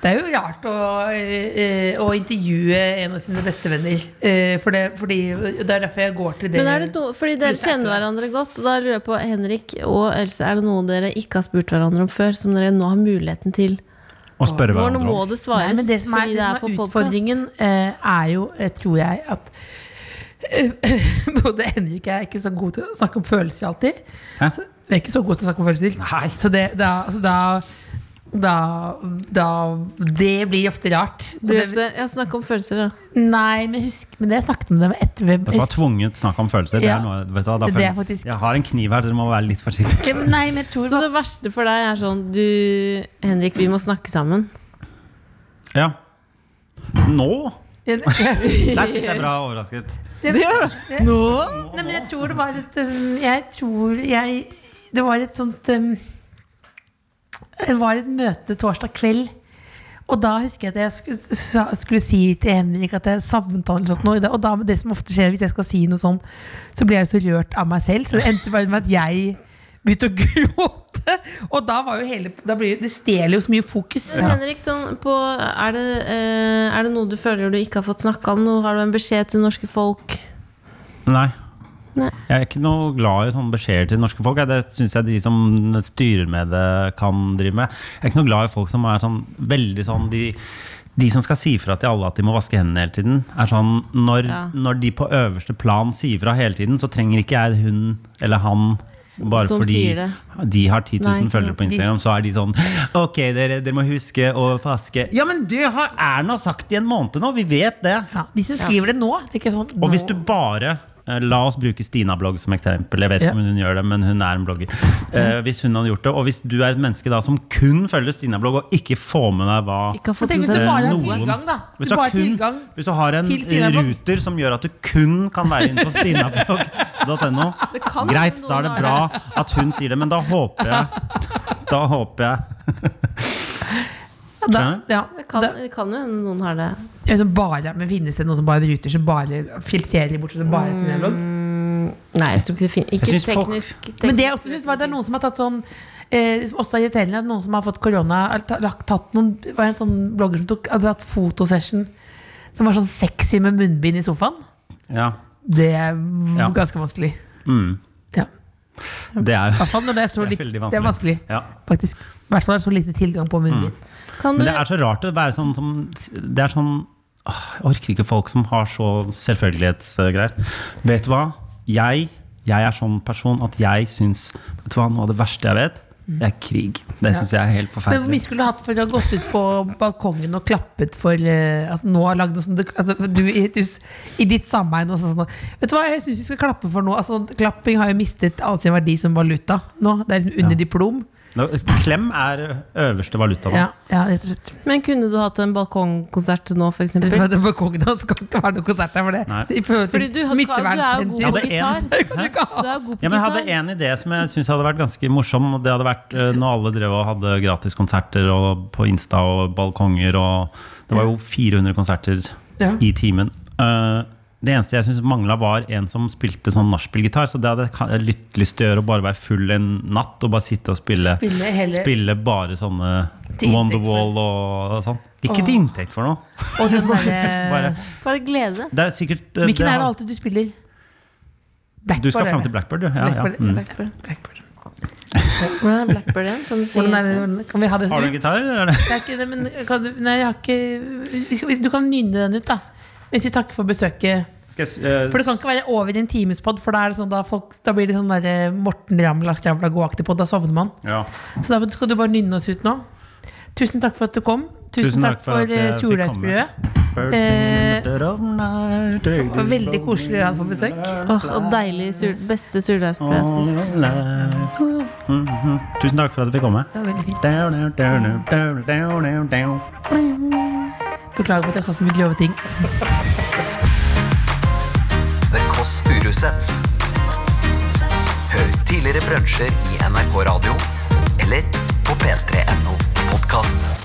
Det er jo rart å, eh, eh, å intervjue en av sine bestevenner. eh, For det, fordi det er derfor jeg går til det. Men er det noe, fordi Dere kjenner hverandre godt. Og da lurer jeg på, Henrik og Else, er det noe dere ikke har spurt hverandre om før, som dere nå har muligheten til? Å spørre Nå hverandre må om. det svares, Nei, men det som er, fordi det det som er på er podcast. utfordringen, eh, er jo, eh, tror jeg, at eh, både Henrik og jeg er ikke så god til å snakke om følelser alltid. Hæ? Så, vi er ikke så gode til å snakke om følelser. Nei. Så det, da, altså, da, da, da Det blir ofte rart. Blir ofte, ja, snakk om følelser, da. Nei, men husk Men det jeg snakket med dem etter vi- Vet du hva, tvunget snakk om følelser. Det Ja. er noe, vet du hva, da Det er føler- faktisk- Jeg har en kniv her, dere må være litt forsiktige. Ja, men Nei, men jeg tror Så det verste for deg er sånn Du, Henrik, vi må snakke sammen. Ja. Nå? Nei, Der fikk jeg bra overrasket. men jeg tror det var et um, Jeg tror jeg Det var et sånt um, Det var et møte torsdag kveld. Og da husker jeg at jeg skulle, sa- skulle si til Henrik at jeg savnet han. eller sånt noe. Og da, det som ofte skjer hvis jeg skal si noe sånn, så blir jeg jo så rørt av meg selv. Så det endte bare med at jeg begynte å gråte. Og da var jo hele da blir, Det stjeler jo så mye fokus. Men Henrik, sånn på, er, det, eh, er det noe du føler du ikke har fått snakka om? Nå har du en beskjed til norske folk? Nei. Nei. Jeg er ikke noe glad i sånne beskjeder til norske folk. jeg. Det syns jeg de som styrer med det, kan drive med. Jeg er ikke noe glad i folk som er sånn veldig sånn De, de som skal si fra til alle at de må vaske hendene hele tiden. Er sånn, når, Ja. når de på øverste plan sier fra hele tiden, så trenger ikke jeg hun eller han bare Som fordi sier det. de har 10 Nei, 000 ikke følgere på sant. Instagram, så er de sånn Ok, dere, dere må huske å vaske Ja, men det har Erna sagt i en måned nå! Vi vet det! Ja, de som skriver det nå. Det er ikke sånn Og hvis nå- du bare eh, La oss bruke Stina-blogg som eksempel. Jeg vet ikke om hun gjør det, men hun er en blogger. Eh, hvis hun hadde gjort det, Og hvis du er et menneske da som kun følger Stina-blogg, og ikke får med deg hva Ikke har Men fått tenk hvis noe du eh, selv- bare har noen- tilgang, da. Hvis Du du, bare har har kun, tilgang hvis du har en til Stina-blogg. ruter som gjør at du kun kan være inne på stinablogg.no, kan greit, hende da er det noen bra at hun sier det, men da håper jeg Da håper jeg Ja, da, ja, Det Eh, kan, da, det kan jo hende noen har det. ja, som bare, men finnes det noen som bare ruter, som bare filtrerer bort? Så Mm, det bare er Stina-blogg? Nei, jeg tror ikke det finnes Ikke Jeg synes teknisk, folk- teknisk Men det jeg også synes var at det er noen som har tatt sånn Eh, som også er irriterende at noen som har fått korona eller ta- lagt- tatt noen, Det var en sånn blogger som tok, hadde tatt fotosession som var sånn sexy med munnbind i sofaen. Ja. Det er v- Ja. ganske vanskelig. Mm. Ja. Det er, I hvert fall når det er så det er litt, veldig det er vanskelig. Ja. Mm. Faktisk. I hvert fall er det så lite tilgang på munnbind. Kan du, Men det er så rart å være sånn som Det er sånn åh, Jeg orker ikke folk som har så selvfølgelighetsgreier. Vet du hva? Jeg, jeg er sånn person at jeg syns Vet du hva, noe av det verste jeg vet, det er krig. Det syns jeg er helt Mm. Men hvor forferdelig. mye skulle du hatt for å ha gått ut på balkongen og klappet for eh, altså, nå har lagd noe sånt, altså, du, i, et hus- I ditt sameie nå, sånn, sånn, Vet du hva, jeg syns vi skal klappe for noe. Altså, klapping har jo mistet all sin verdi som valuta nå. Det er liksom under diplom. Nå, Klem er øverste valuta. Da. Ja, ja, rett og slett. men kunne du hatt en balkongkonsert nå, for Vet du hva, eksempel? det er balkongen, det skal ikke være noe konsert der for det. Nei. det i forhold til Fordi du, har- du er jo smittevernhensyn. god Ja, på det er en- gitar. Det kan du ikke ha. Du er jo god på Ja, men jeg gitar. hadde en idé som jeg syns hadde vært ganske morsom. og Det hadde vært eh, når alle drev og hadde gratiskonserter og på Insta og balkonger. Og det var jo 400 konserter Ja. i timen. Eh, det eneste jeg syns mangla, var en som spilte sånn nachspielgitar. Så det hadde jeg ka- jeg litt lyst til å gjøre, å bare være full en natt og bare sitte og spille. Spille hele- spille bare sånne Til inntekt Wonderwall og, og sånn. Ikke til inntekt for noe. Og den derre- Bare, Bare glede. det er sikkert eh, Hvilken Eh. det er det har- alltid du spiller? Du skal er fram det. til Blackbird, du? Ja, ja. Blackbird, Mm. Blackbird, Blackbird. Hvordan er Blackbird igjen? Kan du synge? Hvordan er det, hvordan, kan vi ha det Har du en ut? gitar? eller er det- Det er ikke det, men kan du, nei, jeg har ikke vi skal- Du kan nynne den ut, da. Hvis vi takker for besøket. Skal jeg, s- eh, For det kan ikke være over i en timespod, for da, er det sånn, da, folk, da blir det sånn der eh, Morten Ramla skravla gå-aktig pod. Da sovner man. ja. Så da skal du bare nynne oss ut nå. Tusen takk for at du kom. Tusen, takk, for, eh, at jeg for fikk surdeigsbrødet. komme. Birds in Eh, the dead of night, they Det var veldig just koselig å ha deg på besøk. Åh, og deilig sur, beste surdeigsbrød jeg har all spist. alive. Mhm. Tusen takk for at jeg fikk komme. Det var veldig fint. Down, down, down, down, down, down, down. Beklager for at jeg sa så mye grove ting. The Kåss Furuseths. Hør tidligere brunsjer i NRK Radio eller på p3.no podkast.